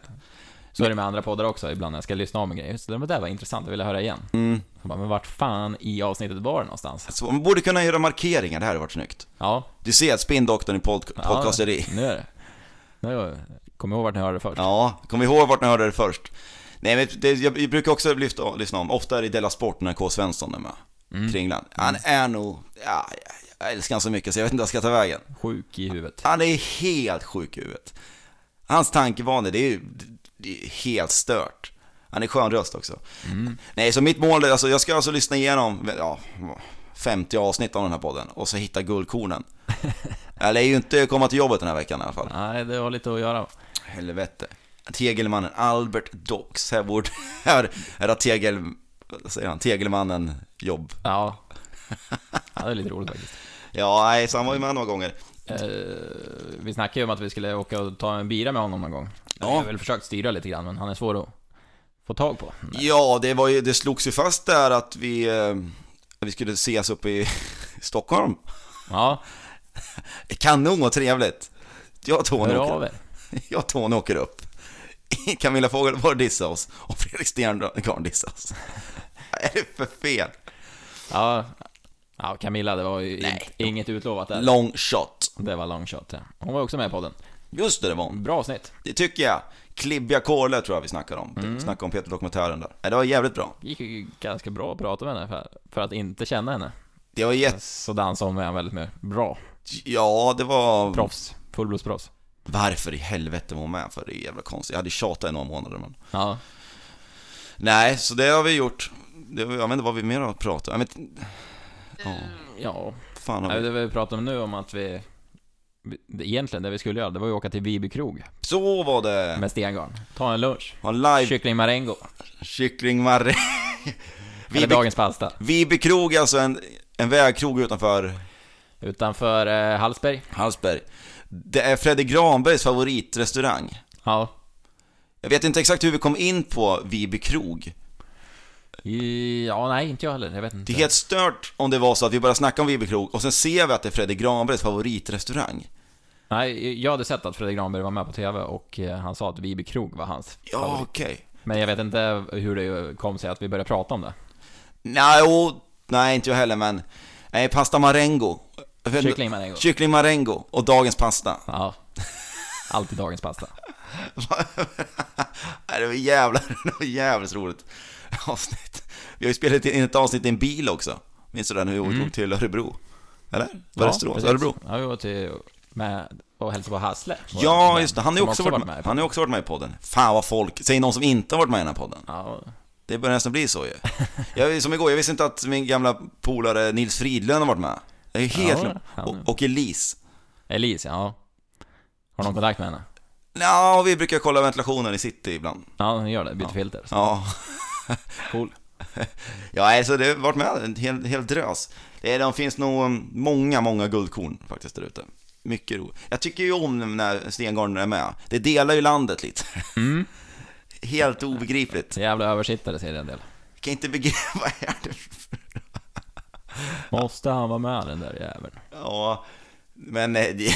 Speaker 2: Så är det med andra poddar också, ibland när jag ska lyssna om en grej. Just det, men det där var intressant, det vill jag höra igen. Mm. Bara, men vart fan i avsnittet var det någonstans?
Speaker 1: Så man borde kunna göra markeringar, det här har varit snyggt.
Speaker 2: Ja.
Speaker 1: Du ser att spindoktorn i pod
Speaker 2: ja
Speaker 1: podcasteri.
Speaker 2: Nu är det. Nu kommer jag ihåg vart ni hörde det först.
Speaker 1: Ja, kom ihåg vart ni hörde det först. Nej, men det, jag, jag brukar också lyfta, lyssna om, ofta är det Della Sport när K. Svensson är med. Kringland. Han är nog, ja, jag älskar han så mycket så jag vet inte vad jag ska ta vägen.
Speaker 2: Sjuk i huvudet.
Speaker 1: Han är helt sjuk i huvudet. Hans tankevanor, det är ju det är helt stört. Han är skön röst också. Nej, så mitt mål, är- alltså, jag ska alltså lyssna igenom ja, 50 avsnitt av den här podden och så hitta guldkornen. Jag lär ju inte komma till jobbet den här veckan i alla fall.
Speaker 2: Nej, det har lite att göra.
Speaker 1: Helvete. Tegelmannen Albert Dox, här borde, här här har Tegel, vad säger han, Tegelmannen jobb.
Speaker 2: Ja. ja det är lite roligt faktiskt.
Speaker 1: Ja, nej, så han var ju med några gånger.
Speaker 2: Eh, vi snackade ju om att vi skulle åka och ta en bira med honom någon gång.
Speaker 1: Ja.
Speaker 2: Jag har väl försökt styra lite grann, men han är svår att få tag på.
Speaker 1: Ja, det, var ju, det slogs ju fast där att vi, eh, vi skulle ses uppe i Stockholm.
Speaker 2: Ja,
Speaker 1: Kanon och trevligt. Jag och Tony
Speaker 2: hör av
Speaker 1: åker,
Speaker 2: er.
Speaker 1: jag och Tony åker upp. Camilla Fogelborg dissar oss och Fredrik Sterngran dissar oss. Vad är det för fel?
Speaker 2: Ja. ja, Camilla, det var ju
Speaker 1: Nej.
Speaker 2: inget utlovat där.
Speaker 1: Long shot.
Speaker 2: Det var long shot, ja. Hon var också med i podden.
Speaker 1: Just det, det var hon.
Speaker 2: Bra avsnitt.
Speaker 1: Det tycker jag. Klibbiga Kåle tror jag vi snackar om. Snackar om Peter-dokumentären där. Nej, Det var jävligt bra.
Speaker 2: gick ju ganska bra att prata med henne för, för att inte känna henne.
Speaker 1: Det var jätte...
Speaker 2: Så dansade hon med henne väldigt mycket. Bra.
Speaker 1: Ja, det var...
Speaker 2: Proffs. Fullblodsproffs.
Speaker 1: Varför i helvete var hon med för? Det är jävla konstigt. Jag hade tjatat i några månader men...
Speaker 2: Ja.
Speaker 1: Nej, så det har vi gjort. Det, jag vet inte vad vi mer har pratat om. Ja,
Speaker 2: Ja.
Speaker 1: fan har
Speaker 2: Nej,
Speaker 1: vi...
Speaker 2: det vi pratar om nu om att vi... vi- Egentligen det vi skulle göra, det var ju att åka till Viby krog
Speaker 1: Så var det!
Speaker 2: med Stengarn. Ta en lunch.
Speaker 1: Ha en live
Speaker 2: Kyckling marengo.
Speaker 1: kycklingmarre.
Speaker 2: Eller
Speaker 1: Viby,
Speaker 2: dagens pasta.
Speaker 1: Viby krog, alltså en, en vägkrog utanför
Speaker 2: Utanför eh, Hallsberg.
Speaker 1: Hallsberg. Det är Fredrik Granbergs favoritrestaurang.
Speaker 2: Ja.
Speaker 1: Jag vet inte exakt hur vi kom in på Viby krog.
Speaker 2: I, ja, nej, inte jag heller. Jag vet inte.
Speaker 1: Det är helt stört om det var så att vi bara snackade om Viby krog och sen ser vi att det är Fredrik Granbergs favoritrestaurang.
Speaker 2: Nej, jag hade sett att Fredrik Granberg var med på TV och eh, han sa att Viby krog var hans.
Speaker 1: Ja, okej.
Speaker 2: Men jag vet inte hur det kom sig att vi började prata om det.
Speaker 1: Nej, jo, nej, inte jag heller, men... Nej, pasta marengo.
Speaker 2: Kyckling marengo.
Speaker 1: Kyckling marengo och dagens pasta.
Speaker 2: Ja. Alltid dagens pasta.
Speaker 1: Nej, det var jävla, det var jävligt roligt avsnitt. Vi har ju spelat in ett avsnitt i en bil också. Minns du det när vi åkte till Örebro? Eller? Var det Västerås?
Speaker 2: Mm. precis.
Speaker 1: Örebro?
Speaker 2: Ja, vi var till med och hälsade på Hassle. Vår
Speaker 1: Ja,
Speaker 2: vän,
Speaker 1: just det. Han har ju
Speaker 2: som
Speaker 1: också varit med. Han har ju också varit med i podden. Fan vad folk... Säg någon som inte har varit med i den här podden.
Speaker 2: Ja,
Speaker 1: Det börjar nästan bli så ju. Jag, som igår, jag visste inte att min gamla polare Nils Fridlund har varit med. Jag är helt
Speaker 2: Ja,
Speaker 1: glömt.
Speaker 2: han är-
Speaker 1: Och, och Elise.
Speaker 2: Elise, ja. Har någon kontakt med henne?
Speaker 1: Ja, vi brukar kolla ventilationen i city ibland.
Speaker 2: Ja, hon gör det. Byter filter.
Speaker 1: Ja,
Speaker 2: Cool.
Speaker 1: ja alltså det har varit med en hel, hel drös. Det, är- de finns nog um, många, många guldkorn faktiskt där ute. Mycket ro. Jag tycker ju om när Stengården är med. Det delar ju landet lite.
Speaker 2: Mm.
Speaker 1: Helt obegripligt.
Speaker 2: Så jävla översittare säger en del.
Speaker 1: Jag kan inte begripa, vad är det
Speaker 2: Måste han vara med den där jäveln?
Speaker 1: Ja, men eh, det,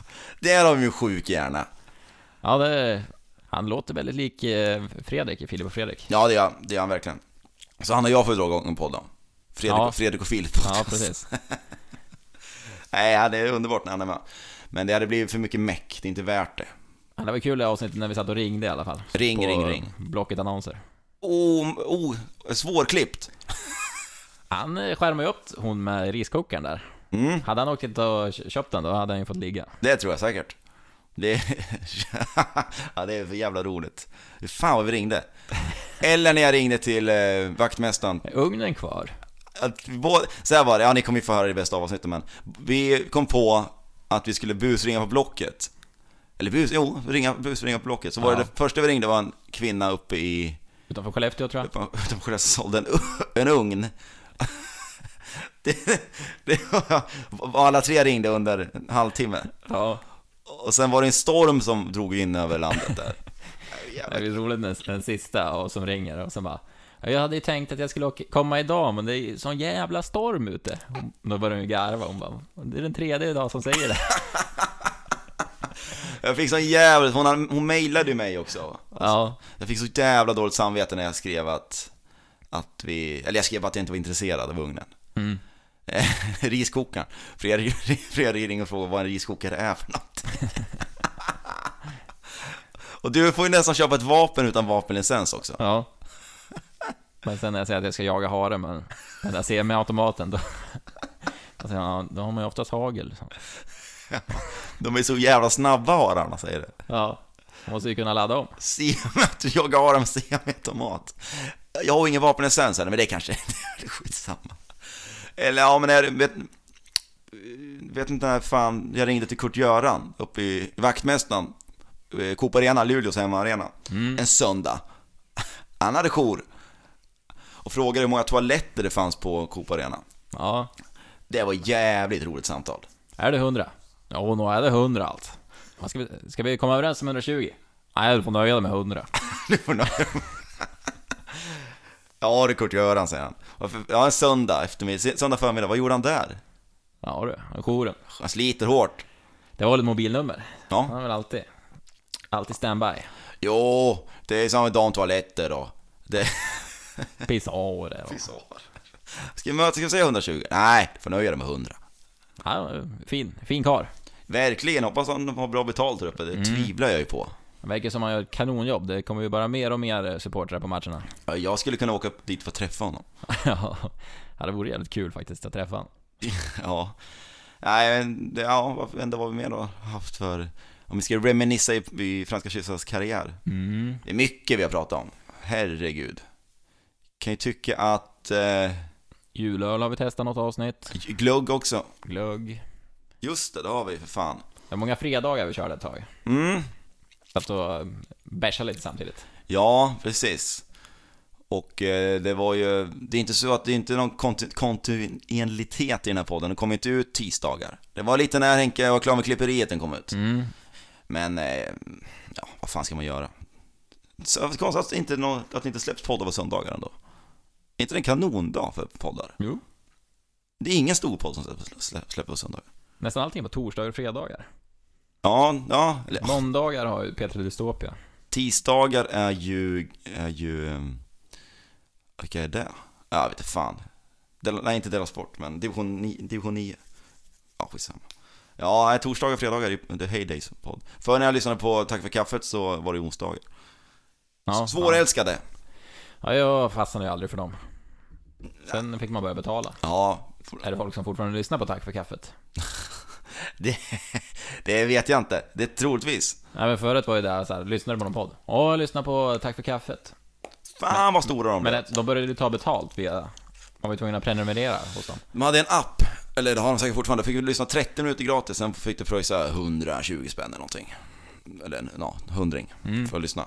Speaker 1: det är de ju sjuk gärna.
Speaker 2: Ja, det... Han låter väldigt lik eh, Fredrik i Filip och Fredrik.
Speaker 1: Ja, det gör, det gör han verkligen. Så han och jag får ju dra igång en podd då. Fredrik,
Speaker 2: Ja.
Speaker 1: Fredrik och Filip.
Speaker 2: Ja, precis.
Speaker 1: Nej, ja, det är underbart när han är med. Men det hade blivit för mycket meck, det är inte värt det.
Speaker 2: Ja, Det var kul i avsnittet när vi satt och ringde i alla fall.
Speaker 1: Ring,
Speaker 2: På
Speaker 1: ring, ring.
Speaker 2: Blocket Annonser.
Speaker 1: Oh, oh, svårklippt.
Speaker 2: Han eh, skärmade ju upp hon med riskokaren där.
Speaker 1: Mm,
Speaker 2: Hade han åkt dit och kö- köpt den då hade han ju fått ligga.
Speaker 1: det tror jag säkert. Det, ja, det är för jävla roligt. Fan vad vi ringde. Eller när jag ringde till eh, vaktmästaren
Speaker 2: Är ugnen kvar?
Speaker 1: att både, så här var det, ja ni kommer ju få höra det i bästa avsnittet men Vi kom på att vi skulle busringa på Blocket Eller bus, jo, ringa, busringa på Blocket Så var
Speaker 2: Ja.
Speaker 1: det, det första vi ringde var en kvinna uppe i,
Speaker 2: Utanför Skellefteå tror jag.
Speaker 1: utanför Skellefteå som sålde en, u- en ugn det, det var, och alla tre ringde under en halvtimme
Speaker 2: Ja.
Speaker 1: Och sen var det en storm som drog in över landet där
Speaker 2: Det är ju roligt när den sista och som ringer och som bara jag hade ju tänkt att jag skulle åka, komma idag, men det är ju sån jävla storm ute. Hon- Då börjar hon ju garva. Hon bara, det är den tredje idag som säger det.
Speaker 1: Jag fick sån jävla, hon, hade- hon mejlade ju mig också
Speaker 2: Ja,
Speaker 1: Jag fick så jävla dåligt samvete när jag skrev att, att vi, eller jag skrev att jag inte var intresserad av ugnen.
Speaker 2: Mm.
Speaker 1: Eh, riskokaren. Fredrik, Fredrik ringer och frågar vad en riskokare är för något. och du får ju nästan köpa ett vapen utan vapenlicens också.
Speaker 2: ja. Men sen när jag säger att jag ska jaga hare, men den där semiautomaten, då, då säger han, ja, då har man ju oftast hagel. Så.
Speaker 1: De är så jävla snabba hararna säger det.
Speaker 2: Ja, man måste ju kunna ladda om.
Speaker 1: Semet, jag har dem semiautomat. Jag har ingen vapenlicens än, men det kanske det är skitsamma. Eller ja, men är, det- vet, vet inte när fan, jag ringde till Kurt-Göran uppe i vaktmästaren, eh, Coop Arena, Luleås hemmaarena, en söndag. Han hade jour och frågade hur många toaletter det fanns på Coop Arena.
Speaker 2: Ja,
Speaker 1: Det var jävligt roligt samtal.
Speaker 2: är det 100? Ja, nog är det 100 allt. Vad Ska vi, ska vi komma överens om 120? Nej, du får nöja dig med 100.
Speaker 1: Du får nöja dig med- Ja, det är Kurt-Göran, säger han. Varför- Ja, en söndag eftermiddag, söndag förmiddag, vad gjorde han där?
Speaker 2: Ja du, jouren.
Speaker 1: Han sliter hårt.
Speaker 2: Det var väl ett mobilnummer?
Speaker 1: Ja.
Speaker 2: Han är väl alltid, alltid standby.
Speaker 1: Jo, det är samma damtoaletter och... Det...
Speaker 2: Pissoarer och...
Speaker 1: Ska vi möta, ska vi säga 120? Nej, du får nöja dig med 100.
Speaker 2: Ja, fin, fin karl.
Speaker 1: Verkligen, hoppas han har bra betalt där uppe, det tvivlar jag ju på.
Speaker 2: Han verkar som han gör ett kanonjobb. Det kommer ju bara mer och mer supportrar på matcherna.
Speaker 1: Ja, Jag skulle kunna åka upp dit för att träffa honom.
Speaker 2: Ja, det vore jävligt kul faktiskt att träffa honom.
Speaker 1: Ja. Nej, men det, ja, vad vad var vi mer då haft för... Om vi ska reminissa i, i Franska kyssars karriär.
Speaker 2: Mm.
Speaker 1: Det är mycket vi har pratat om. Herregud. Kan ju tycka att... Eh,
Speaker 2: Julöl har vi testat något avsnitt.
Speaker 1: glugg också.
Speaker 2: Glögg.
Speaker 1: Just det, det har vi för fan.
Speaker 2: Det var många fredagar vi körde ett tag.
Speaker 1: Mm.
Speaker 2: Satt och eh, bärsade lite samtidigt.
Speaker 1: Ja, precis. Och eh, det var ju... Det är inte så att det är inte någon konti- kontinuitet i den här podden. Den kom inte ut tisdagar. Det var lite när Henke var klar med klipperiet den kom ut.
Speaker 2: Mm.
Speaker 1: Men, eh, ja, vad fan ska man göra? Så konstigt att, inte nå- att det inte släpps poddar på söndagar ändå. Är inte det en kanondag för poddar?
Speaker 2: Jo.
Speaker 1: Det är ingen stor podd som släpps- släpps släpps på söndagar.
Speaker 2: Nästan allting på torsdagar och fredagar.
Speaker 1: Ja, ja. Eller, ja,
Speaker 2: Måndagar har ju P3 Dystopia.
Speaker 1: tisdagar är ju... Är ju ehm, vilka är det? Ja, jag vet inte fan. Del, nej, inte Dela Sport, men Division 9. Division 9. Ja, skitsamma. Ja, nej, torsdagar och fredagar är The Heydays podd. Förr när jag lyssnade på Tack för kaffet så var det onsdagar.
Speaker 2: Ja,
Speaker 1: Svårälskade.
Speaker 2: Ja, jag fastnade ju aldrig för dem. Sen fick man börja betala.
Speaker 1: Ja,
Speaker 2: Är det folk som fortfarande lyssnar på Tack för kaffet?
Speaker 1: det, det vet jag inte. Det är troligtvis.
Speaker 2: Nej men förut var ju det här så här, lyssnade du på någon podd? Ja, jag lyssnar på Tack för kaffet.
Speaker 1: Fan vad stora de
Speaker 2: Men
Speaker 1: blev.
Speaker 2: det- de började ju ta betalt via... Man var ju tvungen att prenumerera hos dem.
Speaker 1: De hade en app, eller det har de säkert fortfarande, fick du lyssna 30 minuter gratis, sen fick du pröjsa 120 spänn eller någonting. Eller ja, hundring för att lyssna.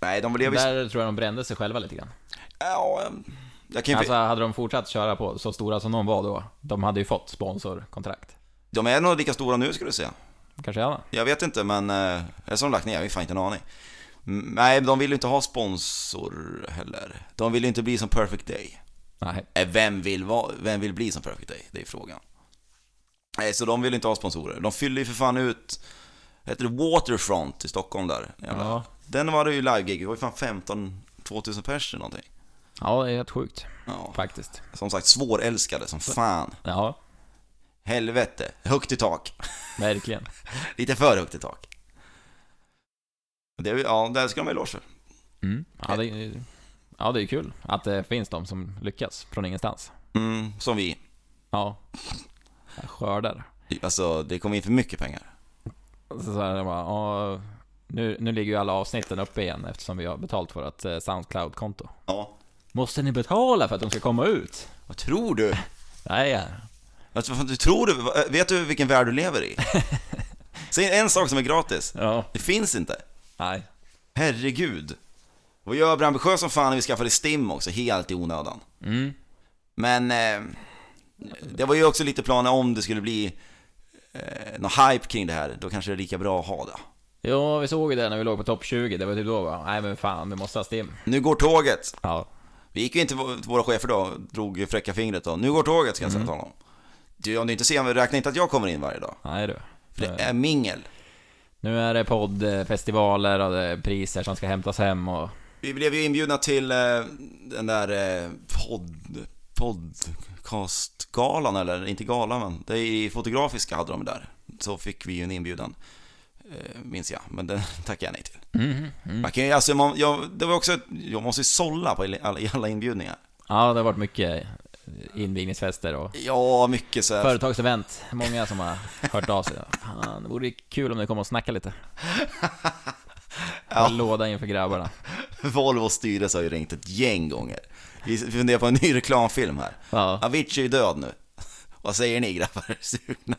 Speaker 1: Nej, de blev ju...
Speaker 2: Mm. Där tror jag de brände sig själva lite grann.
Speaker 1: Ja, eh, jag kan ju...
Speaker 2: Alltså hade de fortsatt köra på så stora som de var då, de hade ju fått sponsorkontrakt.
Speaker 1: De är nog lika stora nu skulle du säga.
Speaker 2: Kanske jag
Speaker 1: Jag vet inte, men... eh, Eller så har de lagt ner, jag har ju fan inte en aning. Mm, Nej, de vill ju inte ha sponsor heller. De vill ju inte bli som Perfect Day.
Speaker 2: Nej.
Speaker 1: Eh, Vem vill, va, vem vill bli som Perfect Day? Det är frågan. Nej, så de vill inte ha sponsorer. De fyller ju för fan ut... Heter det Waterfront i Stockholm där? Jävla.
Speaker 2: Ja.
Speaker 1: Den var det ju live-gig, det var ju fan 15 2000 pers eller någonting.
Speaker 2: Ja, det är rätt sjukt
Speaker 1: Ja.
Speaker 2: faktiskt.
Speaker 1: Som sagt, svårälskade som fan.
Speaker 2: Ja,
Speaker 1: Helvete, högt i tak.
Speaker 2: verkligen.
Speaker 1: Lite för högt i tak. Det, är ju- ja, där ska de ha eloge för.
Speaker 2: Mm. Ja, det, är- ja, det är ju kul att det finns de som lyckas från ingenstans.
Speaker 1: Mm, som vi.
Speaker 2: Ja. Skördar.
Speaker 1: Alltså, det kom in för mycket pengar.
Speaker 2: Så, så här, det bara, ja, nu, nu ligger ju alla avsnitten uppe igen eftersom vi har betalt vårt eh, Soundcloud-konto.
Speaker 1: Ja.
Speaker 2: Måste ni betala för att de ska komma ut?
Speaker 1: Vad tror du?
Speaker 2: Nej,
Speaker 1: Alltså, vad fan, du tror du? vad- Vet du vilken värld du lever i? Säg en sak som är gratis.
Speaker 2: ja.
Speaker 1: Det finns inte.
Speaker 2: Nej.
Speaker 1: Herregud. Och jag blev ambitiös som fan när vi skaffade STIM också, helt i onödan.
Speaker 2: Mm.
Speaker 1: Men eh, det var ju också lite planer om det skulle bli eh, någon hype kring det här, då kanske det är lika bra att ha det.
Speaker 2: Ja, vi såg ju det när vi låg på topp 20. Det var typ då va? Nej men fan, vi måste ha STIM.
Speaker 1: Nu går tåget.
Speaker 2: Ja.
Speaker 1: Vi gick ju inte till våra chefer då, drog fräcka fingret då. Nu går tåget ska jag säga till honom. Du, om du inte ser mig, räkna inte att jag kommer in varje dag.
Speaker 2: Nej du.
Speaker 1: För det är mingel.
Speaker 2: Nu är det poddfestivaler och det är priser som ska hämtas hem och...
Speaker 1: Vi blev ju inbjudna till eh, den där eh, podd, podcastgalan, eller inte galan men det är i Fotografiska hade de det där. Så fick vi ju en inbjudan, eh, minns jag, men den tackade jag nej till. Man kan ju, alltså, man, jag, det var också, ett- jag måste ju sålla på alla, i alla inbjudningar.
Speaker 2: Ja, det har varit mycket invigningsfester och
Speaker 1: Ja, mycket så här.
Speaker 2: företagsevent. Många som har hört av sig. Fan, det vore ju kul om ni kom och snackade lite. Ja. Låda inför grabbarna.
Speaker 1: Volvos styrelse har ju ringt ett gäng gånger. Vi funderar på en ny reklamfilm här.
Speaker 2: Ja.
Speaker 1: Avicii är död nu. Vad säger ni grabbar? Är ni Sugna?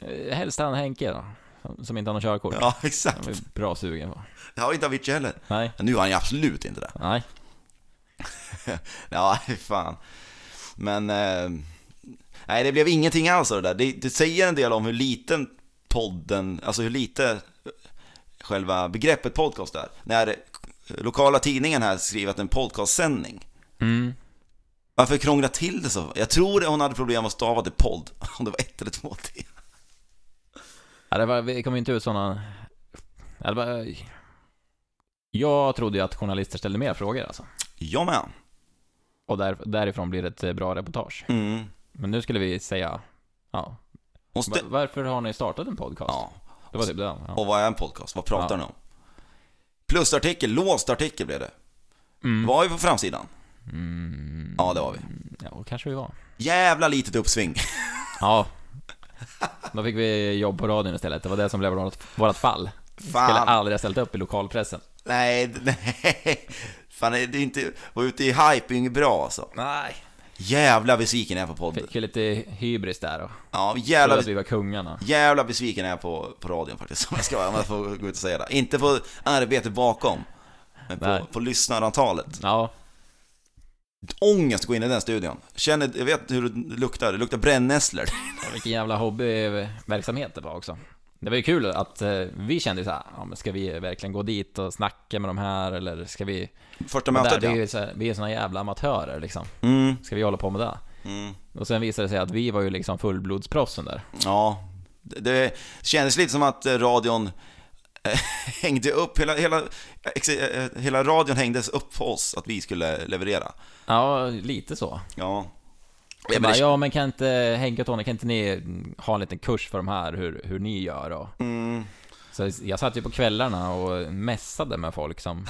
Speaker 2: Eh, Helst han Henke då, som- som inte har något körkort.
Speaker 1: Ja, exakt.
Speaker 2: Han är bra sugen på.
Speaker 1: Det har inte Avicii heller.
Speaker 2: Nej,
Speaker 1: Nu är han ju absolut inte det.
Speaker 2: nej.
Speaker 1: Ja, fy fan. Men... Eh, nej, det blev ingenting alls av det där. Det, det säger en del om hur liten podden, alltså hur lite själva begreppet podcast är. När lokala tidningen här skriver att en podcastsändning.
Speaker 2: Mm.
Speaker 1: Varför krångla till det så? Jag tror hon hade problem att stava till podd, om det var ett eller två t.
Speaker 2: Ja, det, var, det kom inte ut sådana... Ja, det var, jag trodde ju att journalister ställde mer frågor alltså.
Speaker 1: Ja, men.
Speaker 2: Och där, därifrån blir det ett eh, bra reportage.
Speaker 1: Mm.
Speaker 2: Men nu skulle vi säga, ja.
Speaker 1: Hon stä-
Speaker 2: Va- Varför har ni startat en podcast?
Speaker 1: ja.
Speaker 2: Det var typ det. Ja.
Speaker 1: Och vad är en podcast? Vad pratar
Speaker 2: Ja.
Speaker 1: ni om? Plusartikel, låst artikel blev det.
Speaker 2: Mm.
Speaker 1: Var vi på framsidan?
Speaker 2: Mm.
Speaker 1: Ja, det var vi.
Speaker 2: Ja, och kanske vi var.
Speaker 1: Jävla litet uppsving.
Speaker 2: Ja. Då fick vi jobb på radion istället. Det var det som blev vårt, vårt fall. Vi skulle
Speaker 1: Fan.
Speaker 2: aldrig ha ställt upp i lokalpressen.
Speaker 1: Nej, d- nej. Fan, det är inte... Vara ute i hype är inget bra alltså.
Speaker 2: Nej.
Speaker 1: Jävla besviken är jag på podden.
Speaker 2: Fick ju lite hybris där och
Speaker 1: Ja,
Speaker 2: trodde
Speaker 1: jävla,
Speaker 2: att vi var kungarna.
Speaker 1: jävla besviken är jag på, på radion faktiskt. Om jag ska om jag får gå ut och säga det. Inte på arbetet bakom. Men
Speaker 2: Nej.
Speaker 1: på, på lyssnarantalet.
Speaker 2: Ja,
Speaker 1: Ångest att gå in i den studion. Känner, jag vet hur det luktar. Det luktar brännässlor.
Speaker 2: Ja, Vilken jävla hobbyverksamhet det var också. Det var ju kul att eh, vi kände ju så här, ja, men ska vi verkligen gå dit och snacka med de här eller ska vi...
Speaker 1: Första
Speaker 2: Men där,
Speaker 1: mötet
Speaker 2: vi, är
Speaker 1: ja.
Speaker 2: ju så här, vi är såna jävla amatörer liksom.
Speaker 1: Mm,
Speaker 2: Ska vi hålla på med det?
Speaker 1: mm.
Speaker 2: Och sen visade det sig att vi var ju liksom fullblodsproffsen där.
Speaker 1: Ja, det, det kändes lite som att eh, radion eh, hängde upp, hela, hela, ex- eh, hela radion hängdes upp på oss att vi skulle leverera.
Speaker 2: Ja, lite så.
Speaker 1: Ja.
Speaker 2: Ja,
Speaker 1: Ja,
Speaker 2: men,
Speaker 1: men det,
Speaker 2: ja, men kan inte Henke och Tony, kan inte ni ha en liten kurs för de här, hur, hur ni gör? Och...
Speaker 1: mm,
Speaker 2: Så jag satt ju på kvällarna och mässade med folk som...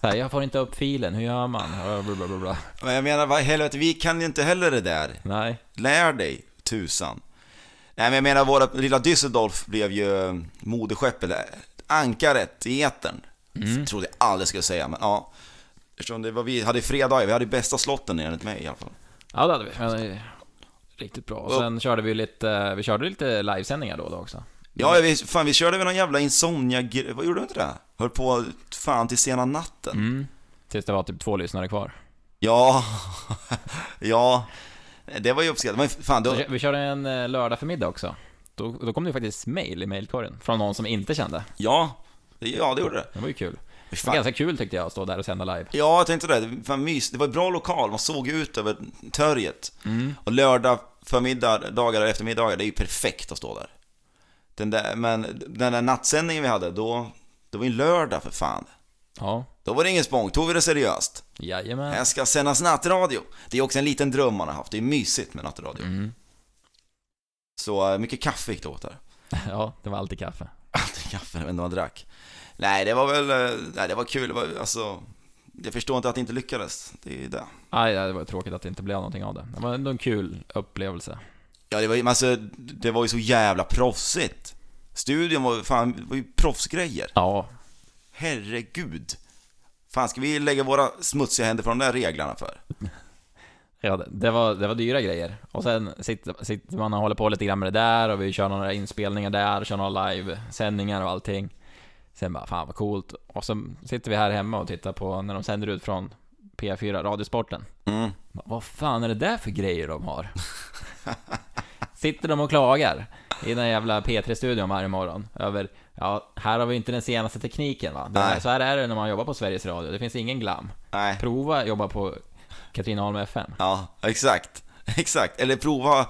Speaker 2: Så här, jag får inte upp filen, hur gör man? Ja, Bla, bla, bla, bla.
Speaker 1: men jag menar, vad i helvete, vi kan ju inte heller det där.
Speaker 2: Nej.
Speaker 1: Lär dig, tusan. Nej, men jag menar, våra lilla Düsseldorf blev ju modeskepp, eller eh, ankaret i etern.
Speaker 2: Mm.
Speaker 1: Trodde jag aldrig skulle säga, men ja. Eftersom det var vi hade fredag, vi hade bästa slotten enligt mig i alla fall.
Speaker 2: Ja, det hade vi. Ja, det är Riktigt bra. Och sen körde vi lite, vi körde lite livesändningar då och då också.
Speaker 1: Ja, vi, fan vi körde väl någon jävla insomnia Vad gjorde vi inte det? Höll på fan till sena natten.
Speaker 2: Mm. Tills det var typ två lyssnare kvar.
Speaker 1: Ja, ja. Det var ju uppskattat. Men fan, då,
Speaker 2: Vi kö- Vi körde en eh, lördag förmiddag också. Då, då kom det ju faktiskt mail i mailkorgen från någon som inte kände.
Speaker 1: ja, det- ja, det gjorde det.
Speaker 2: Det var ju kul. Det var
Speaker 1: Fan.
Speaker 2: ganska kul tyckte jag att stå där och sända live.
Speaker 1: Ja, jag tänkte det. Fan, mys. Det var en bra lokal, man såg ut över torget.
Speaker 2: Mm.
Speaker 1: Och lördag förmiddag, dagar och eftermiddagar, det är ju perfekt att stå där. Den där men den där nattsändningen vi hade, då, det var ju en lördag för fan.
Speaker 2: Ja,
Speaker 1: Då var det ingen spång, tog vi det seriöst.
Speaker 2: jajamän.
Speaker 1: Här ska sändas nattradio. Det är också en liten dröm man har haft, det är mysigt med nattradio.
Speaker 2: Mm.
Speaker 1: Så eh, mycket kaffe gick det åt där.
Speaker 2: Ja, det var alltid kaffe.
Speaker 1: Alltid kaffe, jag vet inte vad han drack. Nej, det var väl, eh, nej det var kul, det var, alltså, jag förstår inte att det inte lyckades. Det är det.
Speaker 2: Aj, ja, det var tråkigt att det inte blev någonting av det. Det var ändå en kul upplevelse.
Speaker 1: Ja, det var, ju- men alltså, det var ju så jävla proffsigt. Studion var, ju- fan, det var ju proffsgrejer.
Speaker 2: Ja,
Speaker 1: Herregud. Fan, ska vi lägga våra smutsiga händer på de där reglarna för?
Speaker 2: ja det- det, var, det var dyra grejer. Och sen sitter, sitter man och håller på lite grann med det där och vi kör några inspelningar där, kör några livesändningar och allting. Sen bara, fan vad coolt. Och så sitter vi här hemma och tittar på när de sänder ut från P4, Radiosporten.
Speaker 1: Mm.
Speaker 2: Bara, Vad fan är det där för grejer de har? Sitter de och klagar i den jävla P3-studion varje morgon över Ja, här har vi inte den senaste tekniken va? Det här,
Speaker 1: Nej.
Speaker 2: så här är det när man jobbar på Sveriges Radio, det finns ingen glam.
Speaker 1: Nej.
Speaker 2: Prova jobba på Katrineholm FM.
Speaker 1: Ja, exakt. Exakt. Eller prova,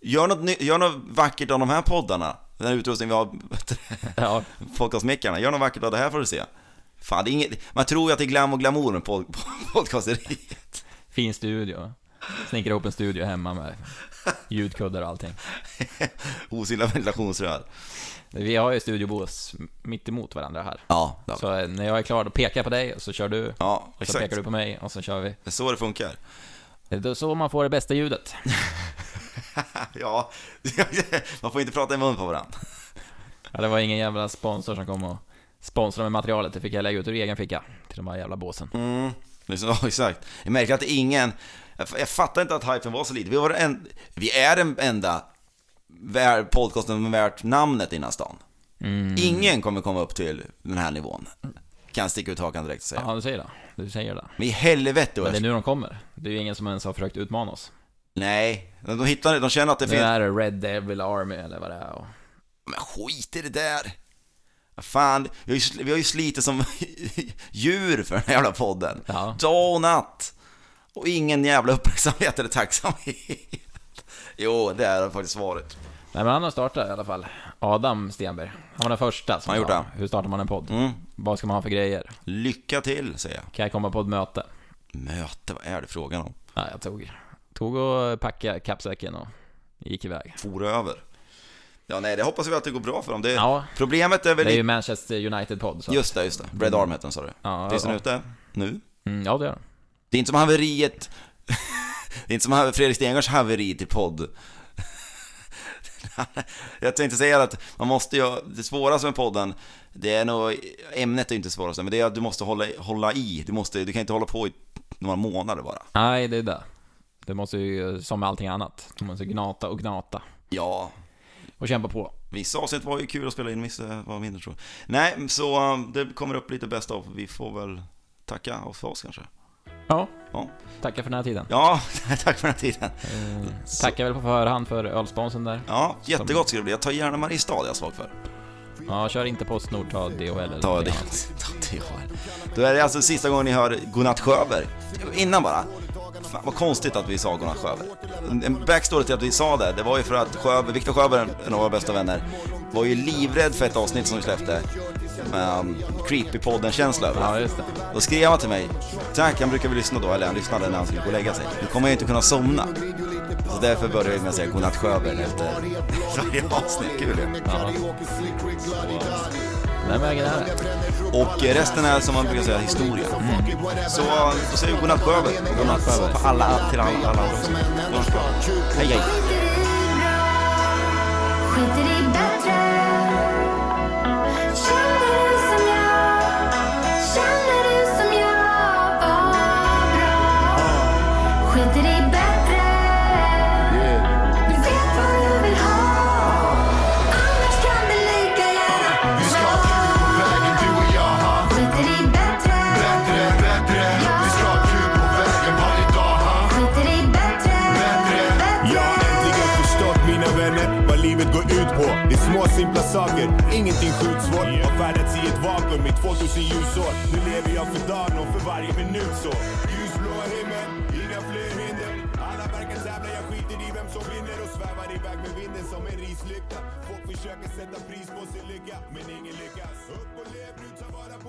Speaker 1: gör något, ny, gör något vackert av de här poddarna. Den här utrustningen vi har,
Speaker 2: Ja,
Speaker 1: podcastmickarna. Gör något vackert av det här får du se. Fan, det är inget, man tror ju att det är glam och glamour med pod, podcasteriet.
Speaker 2: fin studio. Snickra ihop en studio hemma med ljudkuddar och allting.
Speaker 1: Osynliga ventilationsrör.
Speaker 2: Vi har ju studiobås mitt emot varandra här.
Speaker 1: Ja, det har vi.
Speaker 2: Så eh, när jag är klar, då pekar jag på dig och så kör du.
Speaker 1: ja
Speaker 2: Så
Speaker 1: exakt.
Speaker 2: pekar du på mig och så kör vi.
Speaker 1: Det är så det funkar.
Speaker 2: Det är så man får det bästa ljudet.
Speaker 1: ja, man får inte prata i mun på varandra.
Speaker 2: Ja, det var ingen jävla sponsor som kom och sponsrade med materialet. Det fick jag lägga ut ur egen ficka till de här jävla båsen.
Speaker 1: Mm. det är så- Ja, exakt. Jag märker att ingen... Jag f- jag fattar inte att hypen var så liten. Vi, var en, vi är den enda vär- podcasten värt namnet i den här stan.
Speaker 2: Mm.
Speaker 1: Ingen kommer komma upp till den här nivån. Kan sticka ut hakan direkt och säga.
Speaker 2: Ja, du säger det. Du säger det.
Speaker 1: Men i helvete vad
Speaker 2: Men
Speaker 1: jag
Speaker 2: det är nu de kommer. Det är ju ingen som ens har försökt utmana oss.
Speaker 1: Nej, de de hittar de känner att det
Speaker 2: Nu
Speaker 1: finns...
Speaker 2: är det Red Devil Army eller vad det är. Och...
Speaker 1: Men skit i det där! Fan, vi har ju, sl- vi har ju slitit som djur för den här jävla podden.
Speaker 2: Ja.
Speaker 1: Dag och natt! Och ingen jävla uppmärksamhet eller tacksamhet. Jo, det har det faktiskt varit.
Speaker 2: Nej, men han har startat i alla fall. Adam Stenberg. Han var den första som
Speaker 1: Han har
Speaker 2: sa,
Speaker 1: gjort
Speaker 2: Hur startar man en podd?
Speaker 1: Mm.
Speaker 2: Vad ska man ha för grejer?
Speaker 1: Lycka till, säger jag.
Speaker 2: Kan jag komma på ett möte?
Speaker 1: Möte, vad är det frågan om?
Speaker 2: Nej, jag tog, tog och packade kappsäcken och gick iväg.
Speaker 1: For över. Ja, nej, det hoppas vi att det går bra för dem. Det,
Speaker 2: Ja,
Speaker 1: Problemet är väl...
Speaker 2: det är ju Manchester United-podd. så-
Speaker 1: Just det, just det. Brad Arm hette den, sa du.
Speaker 2: Ja,
Speaker 1: Finns den
Speaker 2: ja.
Speaker 1: ute? Nu?
Speaker 2: Mm, ja, det gör de.
Speaker 1: Det är inte som haveriet... det är inte som haver- Fredrik Stengars haveri till podd. jag tänkte säga att man måste ju... Det svåraste med podden, det är nog... Ämnet är ju inte det svåraste, men det är att du måste hålla, hålla i. Du, måste, du kan inte hålla på i några månader bara.
Speaker 2: Nej, det är det. Det måste ju, som med allting annat, man måste gnata och gnata.
Speaker 1: Ja,
Speaker 2: Och kämpa på.
Speaker 1: vissa avsnitt var ju kul att spela in, vissa var mindre tror jag. Nej, så um, det kommer upp lite bäst av. Vi får väl tacka och för oss kanske.
Speaker 2: Ja,
Speaker 1: Ja,
Speaker 2: tackar för den här tiden.
Speaker 1: ja tack för den här tiden.
Speaker 2: Eh,
Speaker 1: Så-
Speaker 2: tackar väl på förhand för ölsponsen där.
Speaker 1: Ja, jättegott ska det bli. Jag tar gärna Mariestad jag är svag för.
Speaker 2: Ja, kör inte Postnord, ta DHL eller
Speaker 1: Ta
Speaker 2: någonting
Speaker 1: det.
Speaker 2: annat.
Speaker 1: Ta det. Då är det alltså sista gången ni hör Godnatt Sjöberg. Innan bara. Fan, vad konstigt att vi sa Godnatt Sjöberg. En- En backstory till att vi sa det, det var ju för att Sjöberg, Viktor Sjöberg, en av våra bästa vänner, var ju livrädd för ett avsnitt som vi släppte. Med um, creepypodden-känsla över
Speaker 2: Ja, just det.
Speaker 1: Då skrev han till mig, tack, han brukar väl lyssna då, eller han lyssnade när han skulle gå och lägga sig. Nu kommer jag inte kunna somna. Så därför började jag med att säga Godnatt Sjöberg efter varje avsnitt. Kul ju.
Speaker 2: Ja. Den vägen är det.
Speaker 1: Och eh, resten är som man brukar säga historia. Så då säger vi godnatt Sjöberg. Och Godnatt Sjöberg. På alla, till alla, alla andra också. Godnatt Sjöberg. Hej hej.
Speaker 3: Skiter i bra, skiter i bättre Känner du som jag, internet vad livet går ut på. Det är små simpla saker, ingenting sjukt svårt. Har färdats i ett vakuum i 2000 ljusår. Nu lever jag för dagen och för varje minut så. Ljusblå himmel, inga fler hinder. Alla verkar tävla, jag skiter i vem som vinner och svävar iväg med vinden som en rislykta. Folk försöker sätta pris på sin lycka, men ingen lyckas. Upp och lev nu, ta vara på